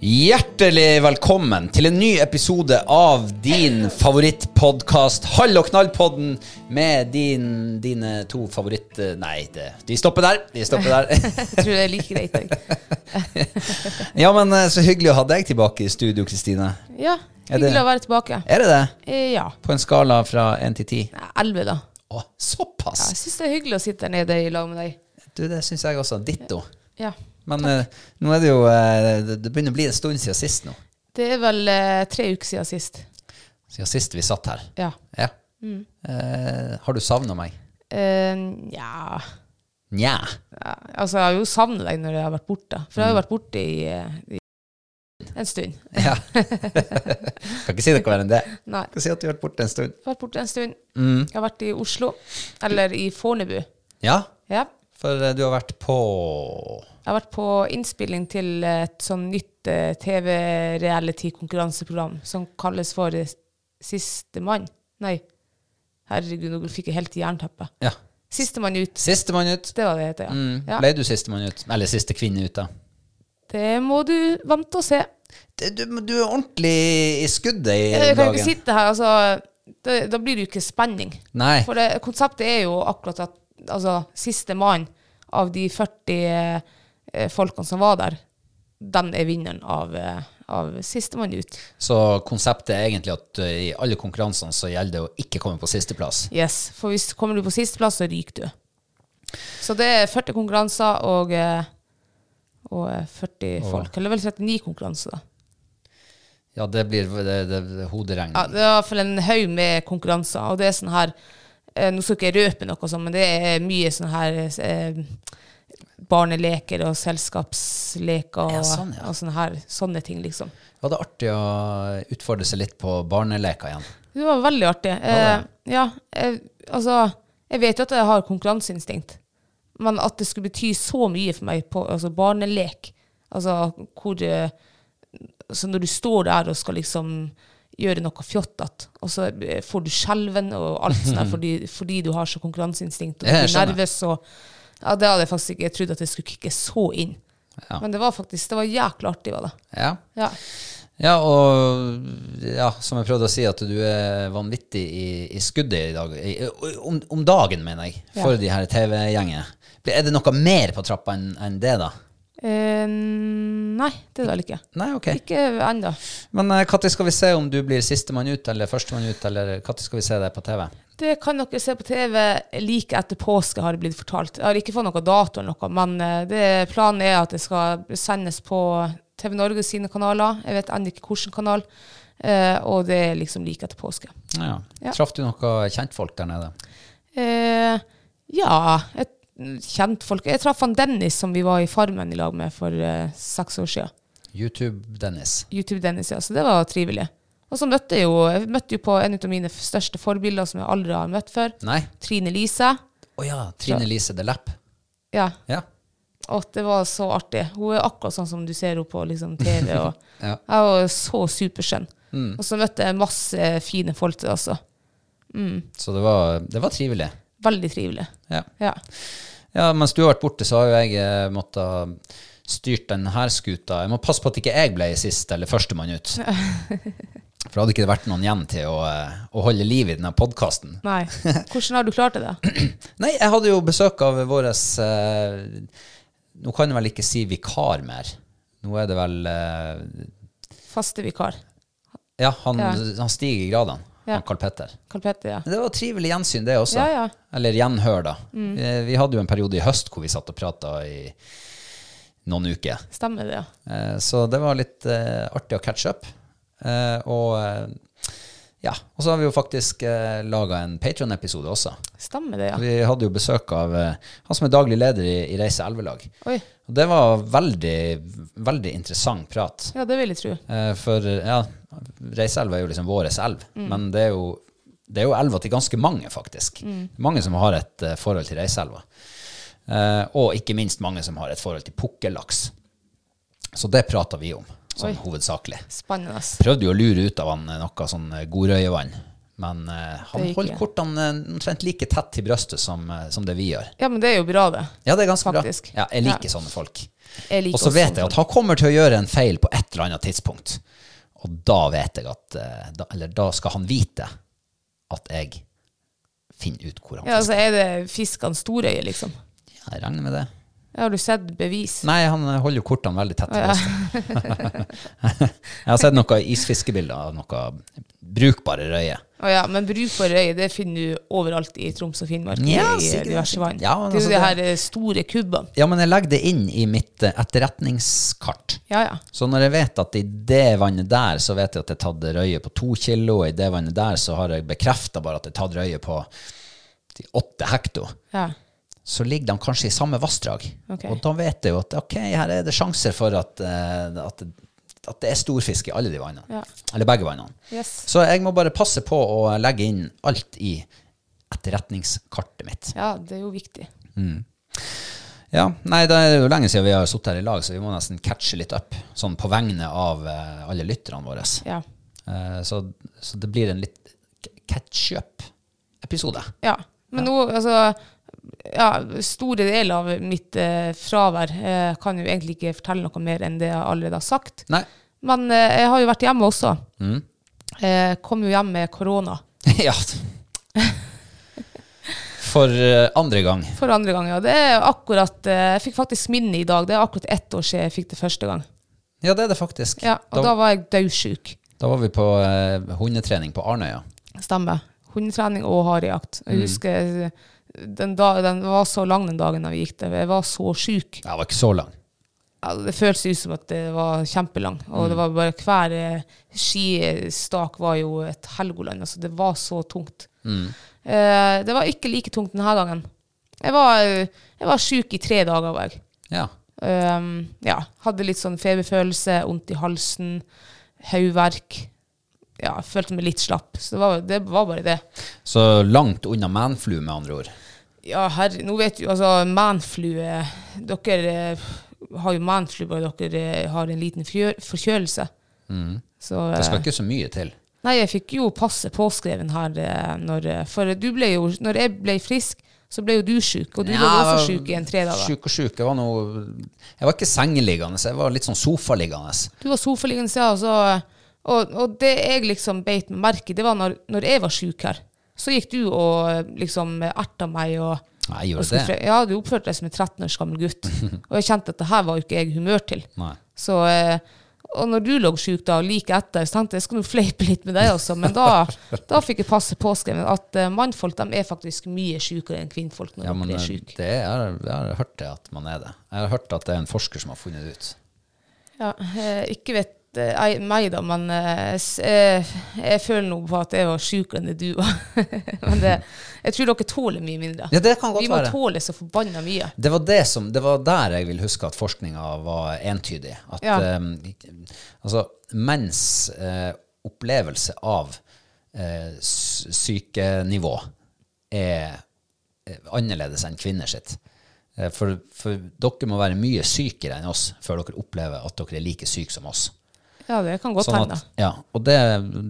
Hjertelig velkommen til en ny episode av din favorittpodkast Hall og knall-podden med din, dine to favoritt... Nei, det, de stopper der. De stopper der. Jeg tror det er like greit. jeg. ja, men eh, så hyggelig å ha deg tilbake i studio, Kristine. Ja, Er det- hyggelig å være tilbake. Er det det? Eh, Ja. På en skala fra 1 til 10? Nei, Elleve, da. Å, Ja, såpass! jeg syns det er hyggelig å sitte her nede i lag med deg. Du, det syns jeg også. Ditto. Ja. Men eh, nå er det jo eh, Det det begynner å bli en stund siden sist nå. Det er vel eh, tre uker siden sist. Siden sist vi satt her. Ja. Ja. Eh, har du savna meg? Eh, Nja Nja. ja, Altså, jeg har jo savnet deg når jeg har vært borte. For jeg Mm. har jo vært borte i, eh, i en stund. Ja. kan ikke si noe mer enn det. Nei. Kan si at du har vært borte en stund. Jeg har vært borte en stund. Jeg har vært i Oslo. Eller i Fornebu. Mm. Ja, Ja. for eh, du har vært på Jeg har vært på innspilling til et sånn nytt eh, TV-reality-konkurranseprogram som kalles for eh, Sistemann. Nei, herregud, nå fikk jeg helt jernteppe. Ja. Sistemann ut. Sistemann ut. Mm. Det var det det heter, ja. ja. Ble du sistemann ut? Eller siste kvinne ut, da? Det må du vant til å se. Det- Du, men du er ordentlig i skuddet i Jeg Eh, kan jo ikke dagen. sitte her, altså. Det, da blir det jo ikke spenning. Nei. For det, konseptet er jo akkurat at altså, sistemann av de 40 eh, folkene som var der, den er vinneren av, eh, av sistemann ut. Så konseptet er egentlig at eh, i alle konkurransene så gjelder det å ikke komme på sisteplass. Yes, for hvis kommer du på sisteplass, så ryker du. Så det er 40 konkurranser og, eh, og eh, 40 Og- folk. Eller vel 39 konkurranser, da. Ja, det blir det, det, det Ja, hoderegning. det er i hvert fall en haug med konkurranser. Og det er sånn her eh, Nå skal ikke jeg røpe noe sånn, men det er mye sånn her eh, Barneleker og selskapsleker og, Ja, sånn, ja. og sånne, her, sånne ting, liksom. Var det artig å utfordre seg litt på barneleker igjen? Det var veldig artig. Eh, ja, eh, altså, jeg vet jo at jeg har konkurranseinstinkt, men at det skulle bety så mye for meg på altså, barnelek altså, hvor, eh, så Når du står der og skal liksom gjøre noe fjottete, og så eh, får du skjelven og alt sånt der fordi, fordi du har så konkurranseinstinkt og Ja, du jeg blir skjønner. nervøs. og ja, Det hadde jeg faktisk ikke trodd at det skulle kikke så inn. Ja. Men det var faktisk det var jækla artig. var det. Ja. Ja. Ja, og ja, som jeg prøvde å si, at du er vanvittig i, i skuddet i dag. I, om, om dagen, mener jeg, for Ja. de her TV-gjengene. Er det noe mer på trappa enn enn det, da? Eh, nei, det er det vel ikke. Nei, ok. Ikke ennå. eh, Men når skal vi se om du blir sistemann ut eller førstemann ut, eller når skal vi se deg på TV? Det kan dere se på TV like etter påske, har det blitt fortalt. Jeg har ikke fått noe dato eller noe, men eh, det, planen er at det skal sendes på TV Norge sine kanaler. Jeg vet ennå ikke hvilken kanal. eh, og det er liksom like etter påske. Ja. Ja. Traff du noen kjentfolk der nede? Eh, ja, et kjent folk. Jeg traff han Dennis som vi var i Farmen i lag med for eh, seks år siden. YouTube-Dennis. YouTube-Dennis, ja. Så det var trivelig. Og så møtte jeg jo, jeg møtte jo på en av mine f- største forbilder som jeg aldri har møtt før. Nei? Trine Lise. Å ja. Trine Lise de Lepp. Ja, Ja. og at det var så artig. Hun er akkurat sånn som du ser henne på liksom, TV. Og Ja. Mm. Jeg var så superskjønn. Og så møtte jeg masse fine folk der også. Så det var, det var trivelig. Veldig trivelig. Ja. Ja. Ja, mens du har vært borte, så har jo jeg eh, måttet styrt denne skuta. Jeg må passe på at ikke jeg ble sist eller førstemann ut. For da hadde ikke det vært noen igjen til å, eh, å holde liv i denne podkasten. Nei. Hvordan har du klart det? da? Nei, jeg hadde jo besøk av vår eh, Nå kan jeg vel ikke si vikar mer. Nå er det vel eh, Faste vikar. Ja, han, Ja. han stiger i gradene, Ja. han Karl Petter. Karl Petter, ja. Men Det var trivelig gjensyn, det også. Ja, Mm. ja. Eller gjenhør, da. Eh, Vi hadde jo en periode i høst hvor vi satt og prata i noen uker. Stemmer det, ja. Eh, Så det var litt eh, artig å catch up. Eh, og eh, ja, og så har vi jo faktisk eh, laga en Patron-episode også. Stemmer det, ja. Vi hadde jo besøk av eh, han som er daglig leder i, i Reise Elvelag. Oi. Og det var veldig, veldig interessant prat. Ja, det vil jeg tro. Eh, for ja, Reiseelva er jo liksom vår elv, Mm. men det er, jo, det er jo elva til ganske mange, faktisk. Mm. Mange som har et eh, forhold til Reiseelva. Eh, og ikke minst mange som har et forhold til pukkellaks. Så det prater vi om, sånn Oi. hovedsakelig. Spennende. Prøvde jo å lure ut av han eh, noe sånn eh, Gorøyevann, men eh, han Det gikk holdt ikke. kortene eh, omtrent like tett til brøstet som, eh, som det vi gjør. Ja, men det er jo bra, det. Ja, det er ganske Faktisk. bra. Ja, jeg liker Ja. sånne folk. Jeg liker og så også sånn vet sånne jeg at folk. han kommer til å gjøre en feil på et eller annet tidspunkt. Og da vet jeg at eh, da, Eller da skal han vite at jeg finner ut hvor han ja, Ja, altså, Er det fiskene storøye, liksom? Jeg regner med det. Har du sett bevis? Nei, han holder jo kortene veldig tett til brystet. jeg har sett noen isfiskebilder av noen brukbare røyer. Å ja, men brukbar røye det finner du overalt i Troms og Finnmark. Ja, i sikkert. diverse vann. Ja, men det er altså, jo de det- her eh, store kubbene. Ja, men jeg legger det inn i mitt eh, etterretningskart. Ja, ja. Så når jeg vet at i det vannet der, så vet jeg at jeg tatt røye på to kilo, og i det vannet der så har jeg bekrefta bare at jeg tatt røye på de åtte hekto, ja. så ligger de kanskje i samme vassdrag. Ok. Og da vet jeg jo at ok, her er det sjanser for at, eh, at, at det er storfisk i alle de vannene. Ja. Eller begge vannene. Yes. Så jeg må bare passe på å legge inn alt i etterretningskartet mitt. ja, det er jo viktig. Ja, nei, det er jo lenge siden vi har sittet her i lag, så vi må nesten catche litt opp, sånn på vegne av eh, alle lytterne våre. Ja. Eh, Så, så det blir en litt catch-up-episode. ja. Men nå, altså ja, Store deler av mitt eh, fravær eh, kan jo egentlig ikke fortelle noe mer enn det jeg allerede har sagt. Nei. Men eh, jeg har jo vært hjemme også. Mm. Eh, kom jo hjem med korona ja. For eh, andre gang. for andre gang. Ja. Det er akkurat, eh, jeg fikk faktisk minne i dag. Det er akkurat ett år siden jeg fikk det første gang. Ja, det er det faktisk. Ja, og da, da, var jeg dødsjuk. da var vi på eh, hundetrening på Arnøya. Stemmer. Hundetrening og harejakt. Jeg husker eh, den, da, den var så lang den dagen da vi gikk der. Jeg var så sjuk. Jeg var ikke så lang. Ja, Det føles ut som at det var kjempelang. Og det var bare hver eh, skistak var jo et helgoland. Altså det var så tungt. Eh, det var ikke like tungt denne gangen. Jeg var, jeg var sjuk i tre dager, var jeg. Ja. Um, ja, hadde litt sånn feberfølelse, vondt i halsen, hodeverk. Ja, følte meg litt slapp. Så det var, det var bare det. Så langt unna manflu, med andre ord. Ja, herre, nå vet du altså manflu eh, Dere eh, har jo manflu bare dere eh, har en liten fjø- forkjølelse. Så Mm. Det skal eh, ikke så mye til. Nei, jeg fikk jo passet påskreven her eh, når eh, For du ble jo Når jeg ble frisk, så ble jo du sjuk, og du Ja, lå jo også jeg var sjuk i en tre dager. Sjuk og sjuk. Jeg var, noe, jeg var ikke sengeliggende, jeg var litt sånn sofaliggende. Du var sofaliggende siden, og så og, og det jeg liksom beit meg merke i, det var når, når jeg var sjuk her. Så gikk du og eh, liksom erta meg og Nei, jeg og gjorde skulle det. fre- Ja, du oppførte deg som en 13 års gammel gutt. Og jeg kjente at det her var jo ikke jeg humør til. Nei. Så, eh, Og når du lå sjuk da, like etter, så tenkte jeg jeg skulle nå fleipe litt med deg også, men da, da fikk jeg passe påskrevet at eh, mannfolk de er faktisk mye sjukere enn kvinnfolk når Ja, de men blir eh, syke. det er, jeg har- jeg har hørt det at man er det. Jeg har hørt at det er en forsker som har funnet det ut. Ja, eh, ikke vet eh, jeg, meg da, men eh, s- eh, jeg føler nå på at jeg var sjukere enn det du var. men det, jeg tror dere tåler mye mindre. Ja, det kan godt Vi må være. tåle så forbanna mye. Det var, det, som, det var der jeg vil huske at forskninga var entydig. At Ja. eh, altså, menns eh, opplevelse av eh, s- sykenivå er eh, annerledes enn kvinner sitt. Eh, for, for dere må være mye sykere enn oss før dere opplever at dere er like syke som oss. Ja, det kan godt Sånn hende. at, ja, og det,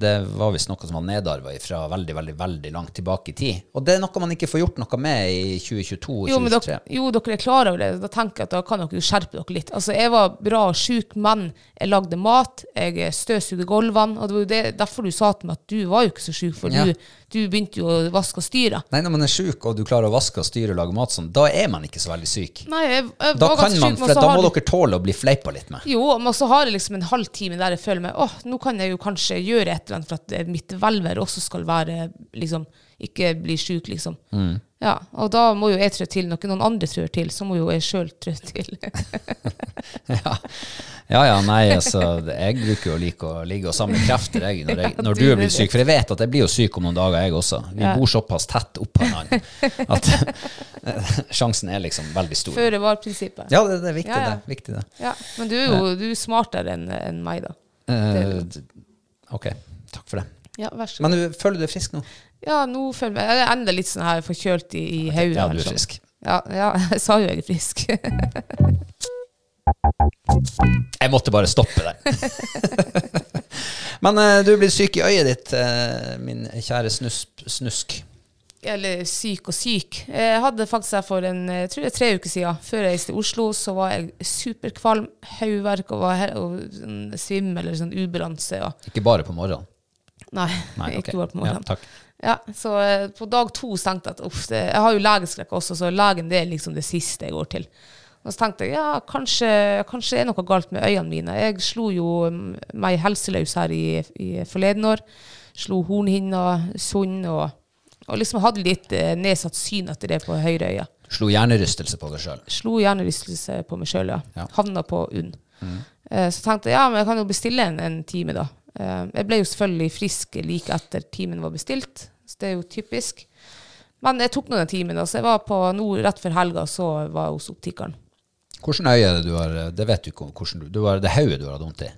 det var visst noe som var nedarva fra veldig veldig, veldig langt tilbake i tid. Og det er noe man ikke får gjort noe med i 2022 og Jo, men 2023. dere, jo, dere er klar over det. Da tenker jeg at da kan dere jo skjerpe dere litt. Altså, jeg var bra sjuk, men jeg lagde mat, jeg støvsugde gulvene. Og det var jo det, derfor du sa til meg at du var jo ikke så sjuk, for Ja. du, du begynte jo å vaske og styre. Nei, når man er syk og du klarer å vaske og styre og lage mat sånn, da er man ikke så veldig syk. Nei, jeg, jeg Da var kan ganske man, syk, men for så da har må du- dere tåle å bli fleipa litt med. Jo, men så har jeg liksom en halvtime der jeg føler meg åh, nå kan jeg jo kanskje gjøre et eller annet for at eh, mitt hvelver også skal være liksom, ikke bli sjuk, liksom. Mm. Ja, og da må jo jeg trå til. Når ikke noen andre trør til, så må jo jeg sjøl trå til. Ja. ja ja, nei, altså Jeg bruker jo å like å ligge og samle krefter jeg, når, jeg, Ja, når du du er blitt vet. syk. For jeg vet at jeg blir jo syk om noen dager, jeg også. Vi bor såpass tett oppå hverandre at sjansen er liksom veldig stor. Føre var-prinsippet. Ja, det, det er viktig, Ja, ja. det. Viktig, det. Ja, men du er jo du er smartere enn enn meg, da. Eh, d- ok, takk for det. Ja, vær så god. Men du, føler du deg frisk nå? Ja, nå føler jeg Jeg er enda litt sånn her forkjølt i, i hodet. Ja, du er liksom. frisk. Ja, ja, jeg sa jo jeg er frisk. Jeg måtte bare stoppe der. Men eh, du er blitt syk i øyet ditt, eh, min kjære snusp, snusk. Eller syk og syk. Jeg hadde faktisk her for en, jeg tror det er tre uker siden, før jeg reiste til Oslo, så var jeg superkvalm, hodeverk og, var he- og sånn svimmel eller sånn ubalanse. Og, Ikke bare på morgenen. nei, Nei, ok. ikke bare på Ja, morgenen. takk. Ja, så eh, på dag to så tenkte jeg at uff, det, jeg har jo legeskrekk også, så legen det er liksom det siste jeg går til. Og så tenkte jeg ja, kanskje, kanskje det er noe galt med øynene mine. Jeg slo jo mm, meg helseløs her i, i forleden år. Slo hornhinna, sund og, og liksom hadde litt eh, nedsatt syn etter det på høyre øye. Slo hjernerystelse på deg sjøl. Slo hjernerystelse på meg sjøl, ja. Ja. Havna på UNN. Eh, så tenkte jeg ja, men jeg kan jo bestille en, en time, da. Eh, jeg ble jo selvfølgelig frisk like etter timen var bestilt, så det er jo typisk. Men jeg tok nå den timen, da, så jeg var på nå rett før helga, så var jeg hos optikeren. Hvordan øye er det du har eh, Det vet du ikke om hvordan du, du har, Det er hodet du har vondt i,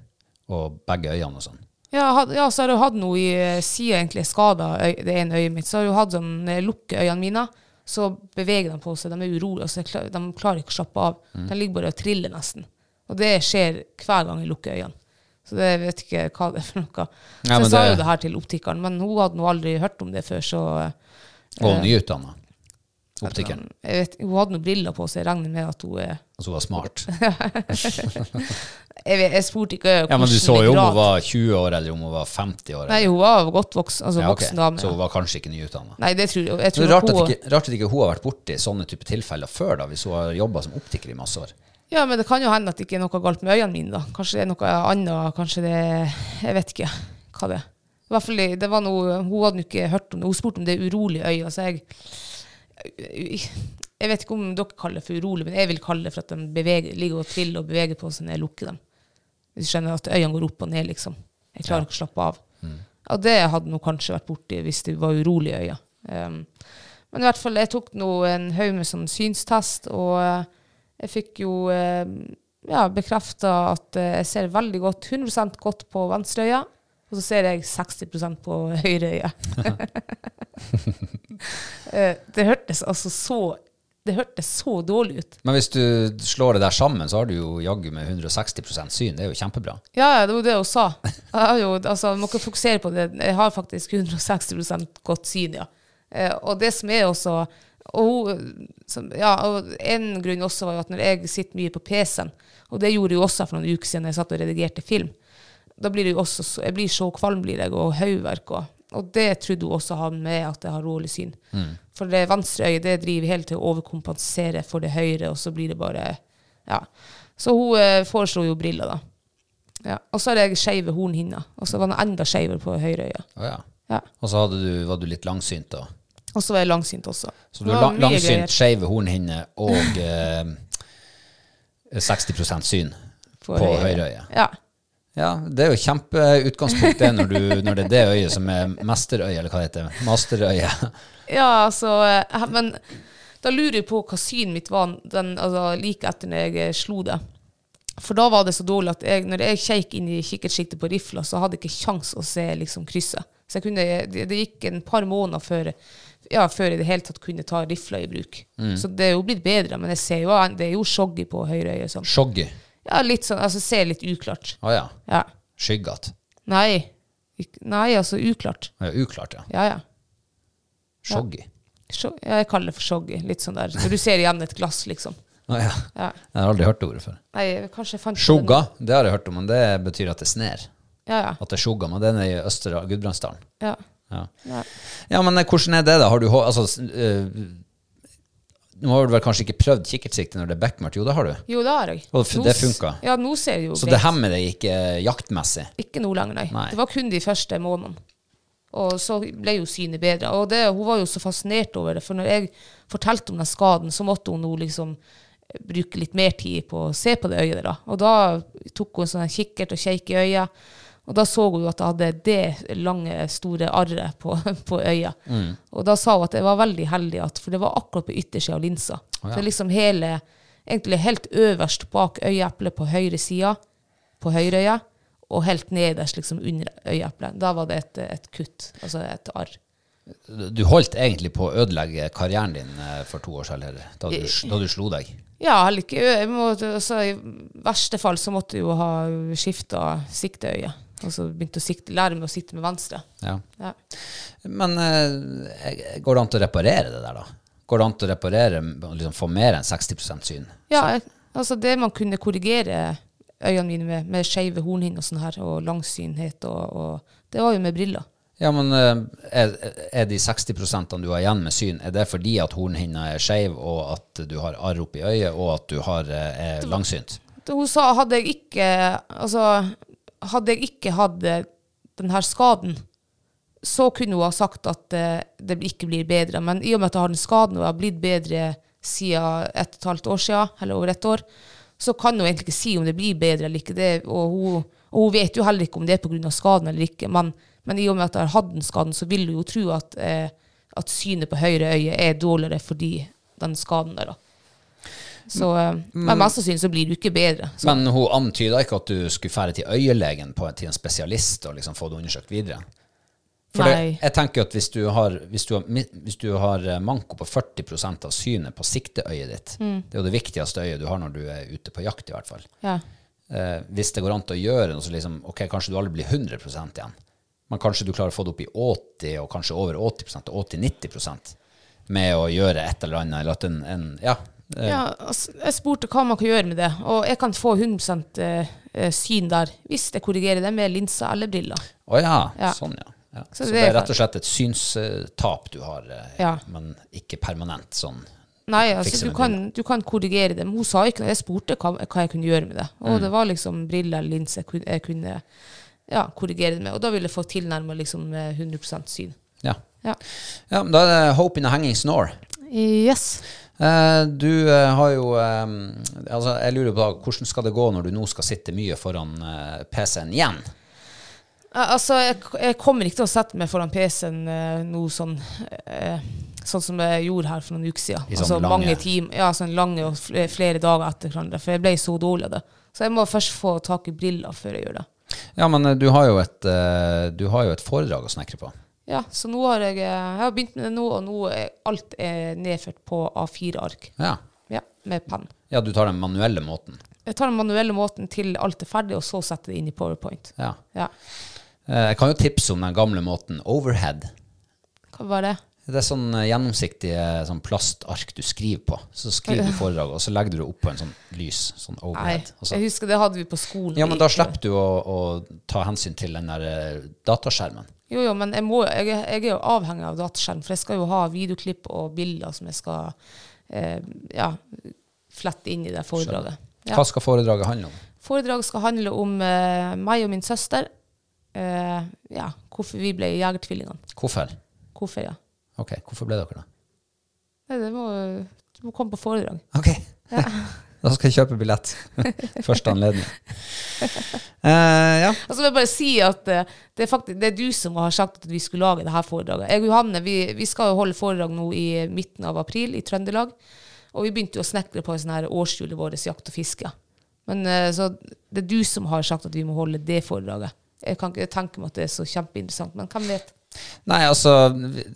og begge øynene og sånn. Ja, jeg had, ja, så har jeg jo hatt noe i sida egentlig skada det ene øyet mitt. Så har jeg jo hatt sånn Når jeg lukker øynene mine, så beveger de på seg. De er urolige. Altså, jeg klar, de klarer ikke å slappe av. Mm. De ligger bare og triller nesten. Og det skjer hver gang jeg lukker øynene. Så det jeg vet ikke hva det er for noe. Så Ja, men jeg sa det- jo det her til optikeren, men hun hadde nå aldri hørt om det før, så eh, Og nyutdanna. Optikeren. jeg vet, Hun hadde noen briller på, så jeg regner med at hun eh, er Altså hun var smart. Jeg, vet, jeg spurte ikke eh, Ja, Men du hvordan så jo om grad- hun var 20 år, eller om hun var 50 år. Nei, eller- hun var godt voksen, altså Ja, ok. voksen dame. Så hun Ja. var kanskje ikke nyutdanna. Nei, det tror jeg. jeg Det tror er rart at, hun- ikke, rart at ikke hun har vært borti sånne type tilfeller før, da, hvis hun har jobba som optiker i masse år. Ja, men det kan jo hende at det ikke er noe galt med øynene mine, da. Kanskje det er noe annet, kanskje det Jeg vet ikke hva det er. I hvert fall, det var noe Hun hadde jo ikke hørt om det. Hun spurte om det urolige øyet, så jeg Jeg vet ikke om dere kaller det for urolig, men jeg vil kalle det for at de beveger, ligger og triller og beveger på seg når jeg lukker dem. Hvis du skjønner at øynene går opp og ned, liksom. Jeg klarer ikke å slappe av. Ja, det hadde nå kanskje vært borti hvis det var urolige øyne. Um, men i hvert fall, jeg tok nå en haug med sånn synstest, og eh, jeg fikk jo eh, ja, bekrefta at eh, jeg ser veldig godt, 100 godt på venstre øye, og så ser jeg 60 på høyre øye. Eh, det hørtes altså så Det hørtes så dårlig ut. Men hvis du slår det der sammen, så har du jo jaggu med 160 syn. Det er jo kjempebra. Ja, ja, det var det hun sa. Jeg har jo, altså, må ikke fokusere på det. Jeg har faktisk 160 godt syn, ja. Eh, og det som er også og, hun- som, ja, og En grunn også var jo at når jeg sitter mye på PC-en, og det gjorde jeg jo også for noen uker siden jeg satt og redigerte film, da blir det jo også så, jeg blir så kvalm blir jeg, og hodeverk. Og, og det trodde hun også har med at jeg har rolig syn. For det venstre øyet det driver helt til å overkompensere for det høyre, og så blir det bare Ja. Så hun eh, foreslo jo briller, da. Ja. Og så har jeg skeive hornhinner. Og så var den enda skeivere på høyre øye. Å ja. Ja. Og så hadde du, var du litt langsynt, da. Og så var jeg langsynt også. Så du har Det var lang, mye greier. langsynt, skeive hornhinner og eh, 60 syn på, høyre øye. Ja. Ja, det er jo kjempeutgangspunkt det når, du, når det er det øyet som er mesterøyet, eller hva det heter. Masterøyet. ja, altså eh, Men da lurer jeg på hva synet mitt var den, altså, like etter når jeg eh, slo det. For da var det så dårlig at jeg, når jeg kjekk inn i kikkertsiktet på rifla, så hadde jeg ikke kjangs å se liksom, krysset. Så jeg kunne, eh, det, det gikk en par måneder før, ja, før jeg i det hele tatt kunne ta rifla i bruk. Mm. Så det er jo blitt bedre, men jeg ser jo, det er jo skjoggy på høyre øye. Sånn. Shoggy. Ja, litt sånn, altså ser litt uklart. Å ja. Ja. Skyggete. Nei. Ik- Nei, altså uklart. Ja, uklart, ja. Ja, ja. Shoggy. Sjo- ja. Jeg kaller det for shoggy. Litt sånn der. Når du ser igjen et glass, liksom. Å ja. Ja. Jeg har aldri hørt det ordet før. Nei, kanskje jeg fant på det nå. Sjogga, det har jeg hørt om, men det betyr at det sner. Ja, ja. At det er sjogga, men den er i Østre Gudbrandsdalen. ja. Ja. Ja. ja, men eh, hvordan er det, da? Har du hå- Altså, s- eh, nå har du vel kanskje ikke prøvd kikkertsikte når det er bekmørkt? Jo, det har du. Jo, det har jeg. Og f- Nå det s- funka. Ja, nå ser jeg jo Så greit. det hemmer deg ikke eh, jaktmessig? Ikke nå lenger, nei. Nei. Det var kun de første månedene. Og så ble jo synet bedre. Og det, hun var jo så fascinert over det, for når jeg fortalte om den skaden, så måtte hun nå liksom bruke litt mer tid på å se på det øyet der. da. Og da tok hun sånn en kikkert og kjekk i øyet, og da så hun jo at jeg hadde det lange, store arret på, på øyet. Og da sa hun at jeg var veldig heldig, at, for det var akkurat på yttersida av linsa. Så liksom hele, egentlig helt øverst bak øyeeplet på høyre sida, på høyre øye, og helt nederst liksom under øyeeplet. Da var det et, et kutt, altså et arr. Du holdt egentlig på å ødelegge karrieren din eh, for to år siden, eller da du, da du slo deg. Ja, eller ikke ø- jeg måtte, altså, I verste fall så måtte jeg jo ha skifta sikteøye. Og så begynte å sikte, lære meg å sikte med venstre. Ja. Ja. Men eh, går det an til å reparere det der, da? Går det an til å reparere, liksom få mer enn 60 syn? Ja, jeg- altså det man kunne korrigere øynene mine med, med skeive hornhinner og sånn her, og langsynhet og, og Det var jo med briller. Ja, men eh, er, er de 60 du har igjen med syn, er det fordi at hornhinna er skeiv, og at du har arr oppi øyet, og at du har, eh, er langsynt? Det Hun sa hadde jeg ikke Altså, hadde jeg ikke hatt eh, den her skaden, så kunne hun ha sagt at eh, det ikke blir bedre. Men i og med at jeg har den skaden, og jeg har blitt bedre siden et og et halvt år siden, eller over et år, så kan hun egentlig ikke si om det blir bedre eller ikke. Det, og, hun, og hun vet jo heller ikke om det er pga. skaden eller ikke. Men, men i og med at jeg har hatt den skaden, så vil hun jo tro at, eh, at synet på høyre øye er dårligere fordi den skaden der, da. Så, eh, men mest sannsynlig så blir det jo ikke bedre. Så, Men hun antyda ikke at du skulle fære til øyelegen, på, til en spesialist, og liksom få det undersøkt videre? For Nei. det, jeg tenker at hvis du har, hvis du har, mi- hvis du har eh, manko på 40 av synet på sikteøyet ditt, Mm. det er jo det viktigste øyet du har når du er ute på jakt, i hvert fall. ja. eh, hvis det går an til å gjøre noe, så liksom, ok, kanskje du aldri blir 100 igjen. Men kanskje du klarer å få det opp i 80, og kanskje over 80 og 80-90 med å gjøre et eller annet, eller at en, en ja, eh, Ja, altså, jeg spurte hva man kan gjøre med det, og jeg kan få 100 eh, eh, syn der hvis jeg korrigerer det med linser eller briller. å ja, Ja. sånn ja. ja. Så Så, det det er er- rett og slett et synstap du har, eh, Ja. men ikke permanent sånn. Nei, altså, Fikse du med kan, du kan korrigere det, men hun sa ikke noe. Jeg spurte hva, hva jeg kunne gjøre med det, og det var liksom briller eller linser jeg kunne, jeg kunne ja, korrigere det med, og da ville jeg få tilnærmet liksom eh, 100 syn. Ja. Ja. ja, men da er det Hope in a Hanging Snore. Yes. Eh, du eh, har jo eh, altså, Jeg lurer på da, hvordan skal det gå når du nå skal sitte mye foran eh, PC-en igjen? Ja, Altså, jeg, jeg kommer ikke til å sette meg foran PC-en eh, nå sånn eh, Sånn som jeg gjorde her for noen uker siden. I sånne altså, lange- mange timer, ja, sånn lange og fl- flere dager etter hverandre. For jeg ble så dårlig av det. Så jeg må først få tak i briller før jeg gjør det. Ja, men eh, du har jo et, eh, du har jo et foredrag å snekre på. Ja, Så nå har jeg, eh, jeg har begynt med det nå, og nå er alt er nedført på A4-ark. Ja. Ja, med penn. ja, du tar den manuelle måten. Jeg tar den manuelle måten til alt er ferdig, og så setter jeg det inn i Powerpoint. Ja. Ja, Eh, Jeg kan jo tipse om den gamle måten overhead. Hva var det? Det er sånn eh, gjennomsiktige sånn plastark du skriver på. Så skriver du foredraget, og så legger du det opp på en sånn lys. Sånn Nei, overhead. Og så- jeg husker det hadde vi på skolen. ja, men da slipper du å, å ta hensyn til den der eh, dataskjermen. Jo, jo, men jeg, må, jeg, jeg er jo avhengig av dataskjerm, for jeg skal jo ha videoklipp og bilder som jeg skal eh, ja, flette inn i det foredraget. Ja. Hva skal foredraget handle om? Foredraget skal handle om eh, meg og min søster. Eh, ja, hvorfor vi ble jegertvillingene. Hvorfor? Hvorfor, ja. Ok, hvorfor ble dere det? Nei, det må, du må komme på foredrag. Ok. da skal jeg kjøpe billett. Første anledning. Eh, ja. Og så vil jeg bare si at eh, det er, faktisk, det er du som har sagt at vi skulle lage det her foredraget. Jeg og Johanne vi, vi skal jo holde foredrag nå i midten av april i Trøndelag. Og vi begynte jo å snekre på en sånn her årshjulet vårt jakt og fiske. Men eh, så det er du som har sagt at vi må holde det foredraget. Jeg kan ikke tenke meg at det er så kjempeinteressant, men hvem vet? Nei, altså vi-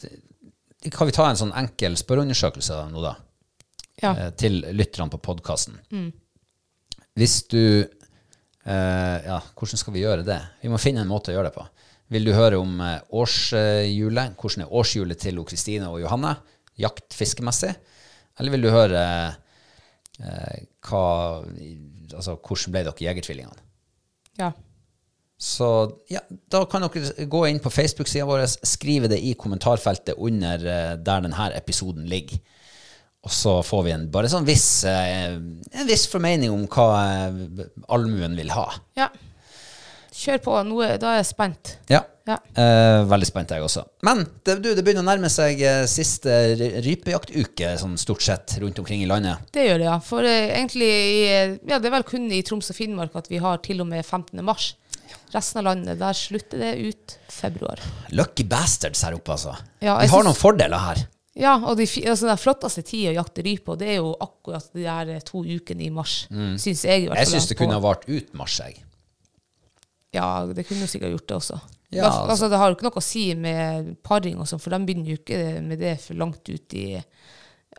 Kan vi ta en sånn enkel spørreundersøkelse nå, da? Ja. eh, til lytterne på podkasten. Hvis du eh, Ja, hvordan skal vi gjøre det? Vi må finne en måte å gjøre det på. Vil du høre om eh, årshjulet? Hvordan er årshjulet til Lo Kristine og Johanne? Jakt-fiskemessig? Eller vil du høre eh, hva Altså, hvordan ble dere jegertvillingene? ja. Så ja, da kan dere gå inn på Facebook-sida vår, skrive det i kommentarfeltet under eh, der denne episoden ligger. Og så får vi en, bare sånn viss, eh, en viss formening om hva eh, allmuen vil ha. Ja. Kjør på. Nå er, da er jeg spent. Ja. Ja. Eh, veldig spent, jeg også. Men det, du, det begynner å nærme seg eh, siste ry- rypejaktuke, sånn stort sett, rundt omkring i landet. Det gjør det, ja. For eh, egentlig i, eh, ja, det er vel kun i Troms og Finnmark at vi har til og med 15. mars. Resten av landet, der slutter det ut februar. Lucky bastards her oppe, altså. Ja, vi jeg har syns- noen fordeler her. Ja, og de, fi- altså, den flotteste tida å jakte rype på, det er jo akkurat de her eh, to ukene i mars. Syns jeg i hvert fall. Mm. Jeg syns det kunne ha vart ut mars, jeg. Ja, det kunne jo sikkert gjort det også. Ja, Da- altså. altså. det har jo ikke noe å si med paring og sånn, for de begynner jo ikke med det for langt ut i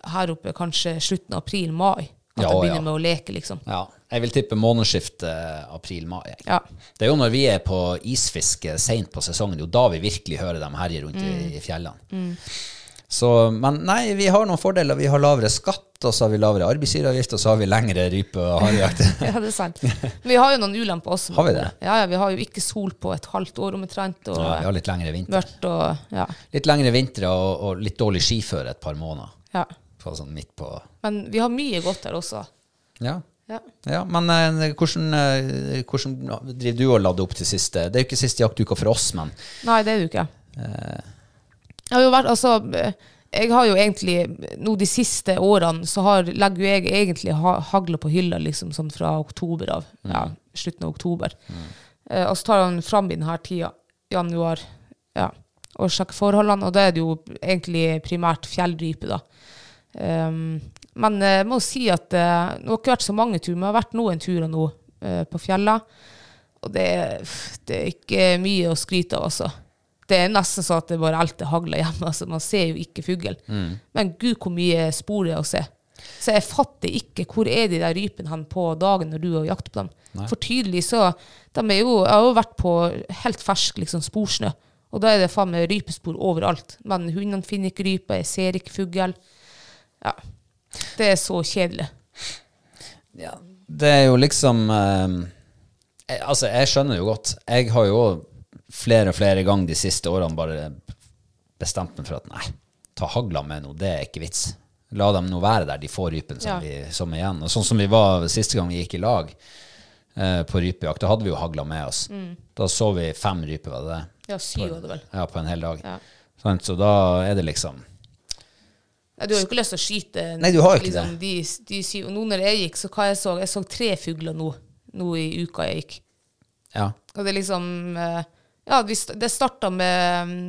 her oppe, kanskje slutten av april-mai. At Ja, de begynner ja. med å leke, liksom. Ja, jeg vil tippe månedsskiftet eh, april-mai. jeg. Ja. Det er jo når vi er på isfiske seint på sesongen, det er jo da vi virkelig hører dem herje rundt i, i fjellene. Så, men nei, vi har noen fordeler. Vi har lavere skatt, og så har vi lavere arbeidsgiveravgift, og så har vi lengre rype- og harejakt. Ja, det er sant. Men vi har jo noen ulemper også. med Har vi det? Ja, ja, vi har jo ikke sol på et halvt år omtrent, og Ja, vi har litt lengre vinter. mørkt og ja, Litt lengre vintre og, og litt dårlig skiføre et par måneder. ja. På, sånn midt på Men vi har mye godt her også. Ja. Ja. ja men eh, hvordan, eh, hvordan driver du og lader opp til siste? Det er jo ikke siste jaktuka for oss, men Nei, det er det jo ikke. Jeg har jo vært, altså, jeg har jo egentlig, nå de siste årene, så har, legger jo jeg egentlig ha, hagla på hylla, liksom sånn fra oktober av, ja, slutten av oktober. Eh, og så tar han fram i denne tida, januar, ja, og sjekker forholdene, og da er det jo egentlig primært fjellrype da. Um, men eh, jeg må si at eh, nå har ikke vært så mange turer, men jeg har vært noen turer nå eh, på fjella, og det, er- pff, det er ikke mye å skryte av, altså. Det er nesten sånn at det bare elter hagla hjemme. Altså, man ser jo ikke fugl. Men gud, hvor mye spor det er å se. Så jeg fatter ikke hvor er de der rypene hen på dagen når du er og jakter på dem. For tydelig så de er jo, Jeg har jo vært på helt fersk liksom, sporsnø, og da er det faen meg rypespor overalt. Men hundene finner ikke rype, jeg ser ikke fugl. Ja. Det er så kjedelig. Det er jo liksom eh, jeg, Altså, jeg skjønner jo godt. Jeg har jo flere og flere ganger de siste årene bare bestemt meg for at nei, ta hagla med nå, det er ikke vits. La dem nå være der de får rypen som, Ja. vi, som er igjen. Og sånn som vi var siste gang vi gikk i lag eh, på rypejakt, da hadde vi jo hagla med oss. Mm. Da så vi fem ryper, var det det? Ja, syv var det vel. Ja, på en hel dag. Ja. Sant, Så da er det liksom Nei, Du har jo ikke lyst til å skyte liksom, Nei, du har jo ikke det. de, de syv. Og nå når jeg gikk, så hva jeg så jeg så tre fugler nå, nå i uka jeg gikk. Ja. Og det er liksom eh, Ja, vi st- det starta med mm,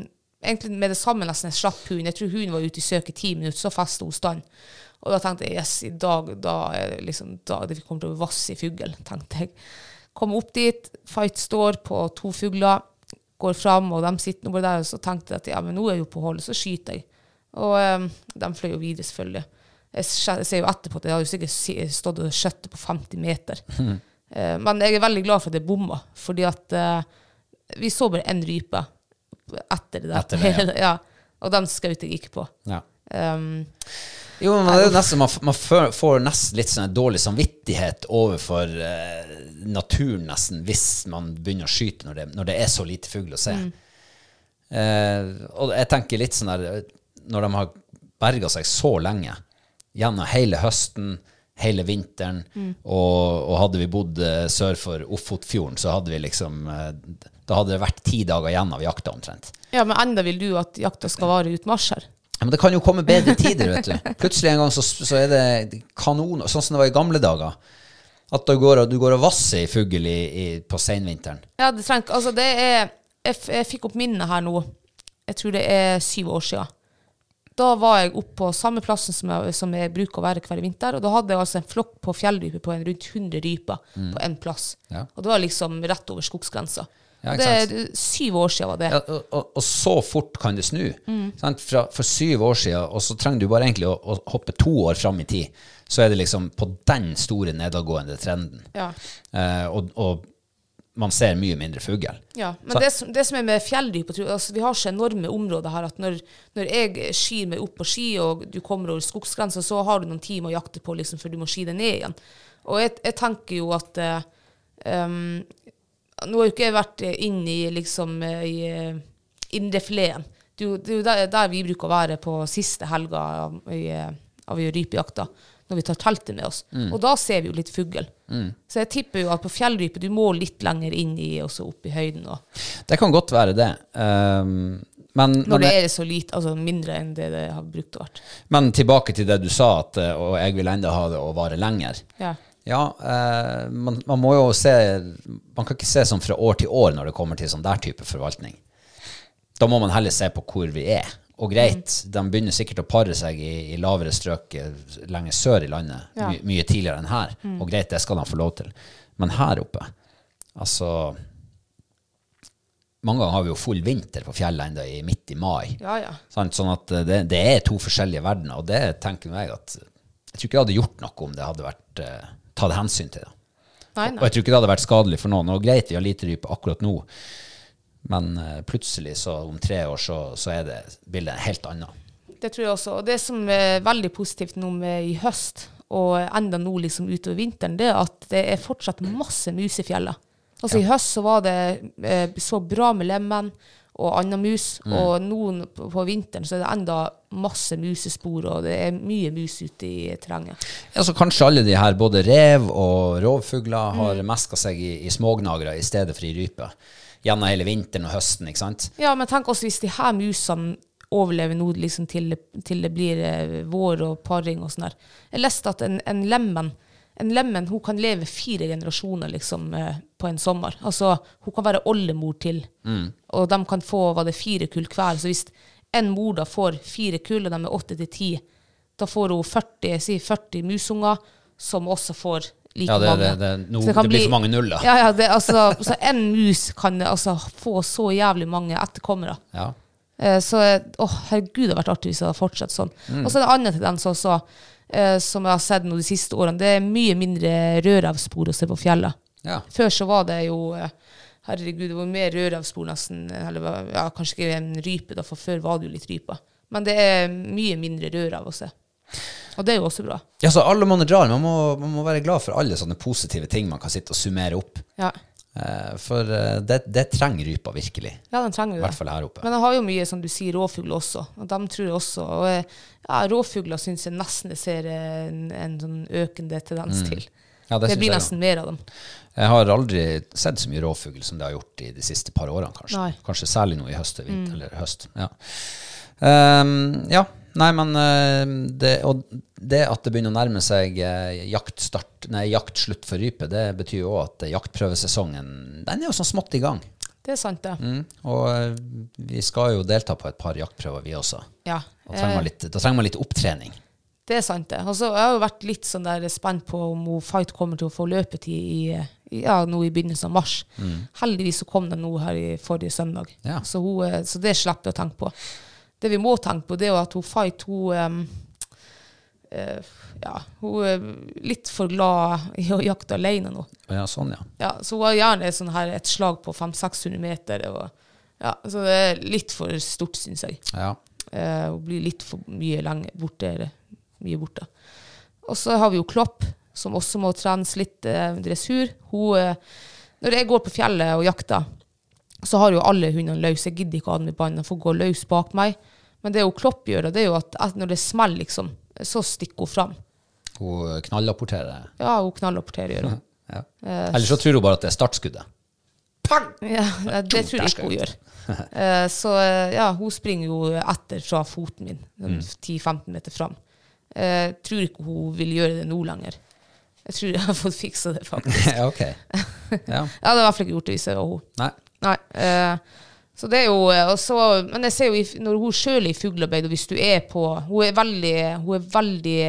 Egentlig med det samme nesten jeg slapp hunden. Jeg tror hunden var ute i søk i ti minutter, så festa hun stand. Og da tenkte jeg yes, i dag da er det liksom, da det kommer til å vasse i fugl, tenkte jeg. Kom opp dit, fight står på to fugler, går fram, og de sitter nå bare der. Og så tenkte jeg at ja, men nå er jeg jo på holdet, så skyter jeg. Og eh, de fløy jo videre, selvfølgelig. Jeg skje- ser jo etterpå at jeg hadde jo sikkert si- stått og skjøttet på 50 meter. Mhm. Eh, Men jeg er veldig glad for at jeg bomma, fordi at eh, vi så bare én rype etter det der. Etter det, ja. Og den skjøt jeg ikke på. ja. Um, Jo, men det er jo nesten, man, man fø- får nesten litt sånn dårlig samvittighet overfor eh, naturen, nesten, hvis man begynner å skyte når det, når det er så lite fugl å se. Eh, og jeg tenker litt sånn der Når de har berga seg så lenge, gjennom hele høsten, hele vinteren. Og, og hadde vi bodd eh, sør for Ofotfjorden, så hadde vi liksom eh, Da hadde det vært ti dager igjen av jakta omtrent. Ja, men enda vil du at jakta Mm. skal vare ut mars her. Ja, men det kan jo komme bedre tider, vet du. Plutselig en gang så, så er det kanon, sånn som det var i gamle dager. At du går og, du går og vasser i fugl i, i, på seinvinteren. Ja, det trenger ikke Altså, det er jeg, f jeg fikk opp minnet her nå. Jeg tror det er syv år siden. Da var jeg oppe på samme plassen som jeg, som jeg bruker å være hver vinter. Og da hadde jeg altså en flokk på fjellrype på en rundt 100 ryper på én plass. Mm. Ja. Og det var liksom rett over skogsgrensa. Ja, Og ikke det sant. er syv år siden var det. Ja, og, og, og så fort kan det snu. Mm. Sant? Fra, for syv år siden, og så trenger du bare egentlig å, å hoppe to år fram i tid, så er det liksom på den store nedadgående trenden. Ja. Eh, og, og man ser mye mindre fugl. Ja, men Så- det som, det som er med fjelldyp og tru- altså, Vi har så enorme områder her at når, når jeg skyr meg opp på ski, og du kommer over skogsgrensa, så har du noen timer å jakte på liksom, før du må sky deg ned igjen. Og jeg, jeg tenker jo at eh, um, Nå har jo ikke jeg vært eh, inn i liksom eh, i eh, indrefileten. Det er jo- det er jo der, der vi bruker å være på siste helga av, i, eh, av i rypejakta, når vi tar teltet med oss. Og da ser vi jo litt fugl. Så jeg tipper jo at på fjellrype du må litt lenger inn i og så opp i høyden. Og Det kan godt være det. Ehm, men, men, når det er så lite, altså mindre enn det det har brukt å vært. men tilbake til det du sa, at, eh, og jeg vil enda ha det å vare lenger. Ja. Ja, eh, man, man må jo se Man kan ikke se sånn fra år til år når det kommer til sånn der type forvaltning. Da må man heller se på hvor vi er. Og greit, Mm. de begynner sikkert å pare seg i, i lavere strøk eh, lenger sør i landet Ja. Mm. my, mye tidligere enn her. Og greit, det skal de få lov til. Men her oppe, altså Mange ganger har vi jo full vinter på fjellet enda i midt i mai. ja, ja. Sant? Sånn at eh, det, det er to forskjellige verdener, og det tenker jeg at Jeg tror ikke jeg hadde gjort noe om det hadde vært eh, tatt hensyn til det. Nei, Og nei. jeg tror ikke det hadde vært skadelig for noen. Og greit, vi har lite rype akkurat nå, men eh, plutselig, så om tre år, så, så er det bildet helt annet. Det tror jeg også. Og det som er veldig positivt nå med i høst, og enda nå liksom utover vinteren, det er at det er fortsatt masse mus i fjellet. Altså i høst så var det eh, så bra med lemen og annen mus, og nå n- på på vinteren så er det enda masse musespor, og det er mye mus ute i terrenget. Ja, så kanskje alle de her, både rev og rovfugler, har meska seg i, i smågnagere i stedet for i rype. Gjennom hele vinteren og høsten, ikke sant. Ja, men tenk også hvis de her musene overlever nå liksom til, til det blir eh, vår og paring og sånn der. Jeg leste at en, en lemmen en lemmen, hun kan leve fire generasjoner liksom, eh, på en sommer. Altså, hun kan være oldemor til, Mm. og de kan få var det fire kull hver. Så hvis en mor da får fire kull, og de er åtte til ti, da får hun 40, jeg sier 40 musunger, som også får like Ja, det- mange. det- det- nå- Så det blir for mange nuller. Ja, ja, det, altså, så en mus kan altså, få så jævlig mange etterkommere. Ja. Eh, Så å, herregud, det hadde vært artig hvis det hadde fortsatt sånn. Og så er det andre tendens også, eh, som jeg har sett nå de siste årene. Det er mye mindre rødrevspor å se på fjellet. Ja. Før så var det jo eh, Herregud, det var mer rødrevspor nesten. Eller hva- ja, kanskje ikke en rype, da, for før var det jo litt ryper. Men det er mye mindre rødrev å se. Og det er jo også bra. Ja, så alle måneder drar. Man må, man må være glad for alle sånne positive ting man kan sitte og summere opp. Ja, Eh, For eh, det, det trenger rypa virkelig. ja den trenger I jo hvert det. fall her oppe. Men jeg har jo mye, som du sier, rovfugl også. Og dem tror jeg også. Og eh, ja, rovfugler syns jeg nesten jeg ser eh, en, en sånn økende tendens til. Ja, Det, Mm. synes blir jeg nesten mer av dem. også. Jeg har aldri sett så mye rovfugl som det har gjort i de siste par årene, kanskje. Nei. Mm. Kanskje særlig nå i høst. og Vinter, Eller høst. Ja. Ehm, ja. Nei, men eh, det, og det at det begynner å nærme seg eh, jaktstart, nei, jaktslutt for rype, det betyr jo òg at eh, jaktprøvesesongen den er jo sånn smått i gang. Det er sant, det. Mm. Og eh, vi skal jo delta på et par jaktprøver, vi også. Ja. Da Eh. trenger man litt, da trenger man litt opptrening. Det er sant, det. Og så har jeg jo vært litt sånn der spent på om hun Fight kommer til å få løpetid i, i, ja, nå i begynnelsen av mars. Heldigvis så kom den nå her i forrige søndag, Ja. så, hun, eh, så det slipper jeg å tenke på. Det vi må tenke på, det er jo at hun Fight hun, em, eh, ja, hun er litt for glad i å jakte alene nå. Ja, sånn, ja. Ja, så hun har gjerne sånn her et slag på 500-600 meter. Og, ja, så det er litt for stort, syns jeg. ja. Eh, hun blir litt for mye lenge borte. eller Mye borte. Og så har vi jo Klopp, som også må trenes litt eh, dressur. Hun, eh, når jeg går på fjellet og jakter, så har jo alle hundene løs. Jeg gidder ikke å ha dem i bånd. De får gå løs bak meg. Men det jo Klopp gjør, da, det er jo at at når det smeller, liksom, så stikker hun fram. Hun knallapporterer. Ja, hun knallrapporterer, gjør hun. Ja. Eller så tror hun bare at det er startskuddet. Ja, det tror jeg ikke hun gjør. Eh, Så eh, ja, hun springer jo etter fra foten min, sånn 10-15 meter fram. Eh, tror ikke hun vil gjøre det nå lenger. Jeg tror jeg har fått fiksa det, faktisk. ja, ok. Ja. Jeg hadde i hvert fall ikke gjort det hvis jeg var hun. Nei. Nei. eh, så det er jo eh, og så- Men jeg ser jo i f- når hun sjøl er i fuglearbeid, og hvis du er på Hun er veldig, hun er veldig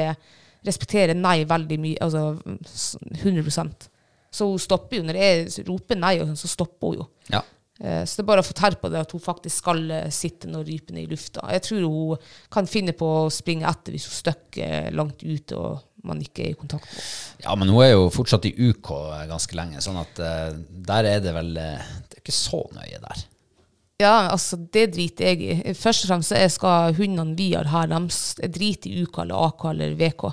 respekterer nei veldig mye, altså s- 100 Så hun stopper jo når jeg roper nei, og sånn, så stopper hun jo. Ja. Eh, Så det er bare å få tær på det at hun faktisk skal eh, sitte når rypen er i lufta. Jeg tror hun kan finne på å springe etter hvis hun støkker eh, langt ute og man ikke er i kontakt med henne. ja, men hun er jo fortsatt i UK ganske lenge, sånn at eh, der er det vel eh, Det er ikke så nøye der. Ja, altså, det driter jeg i. Først og fremst så er- skal hundene vi har her, de s- driter i UK eller AK eller VK.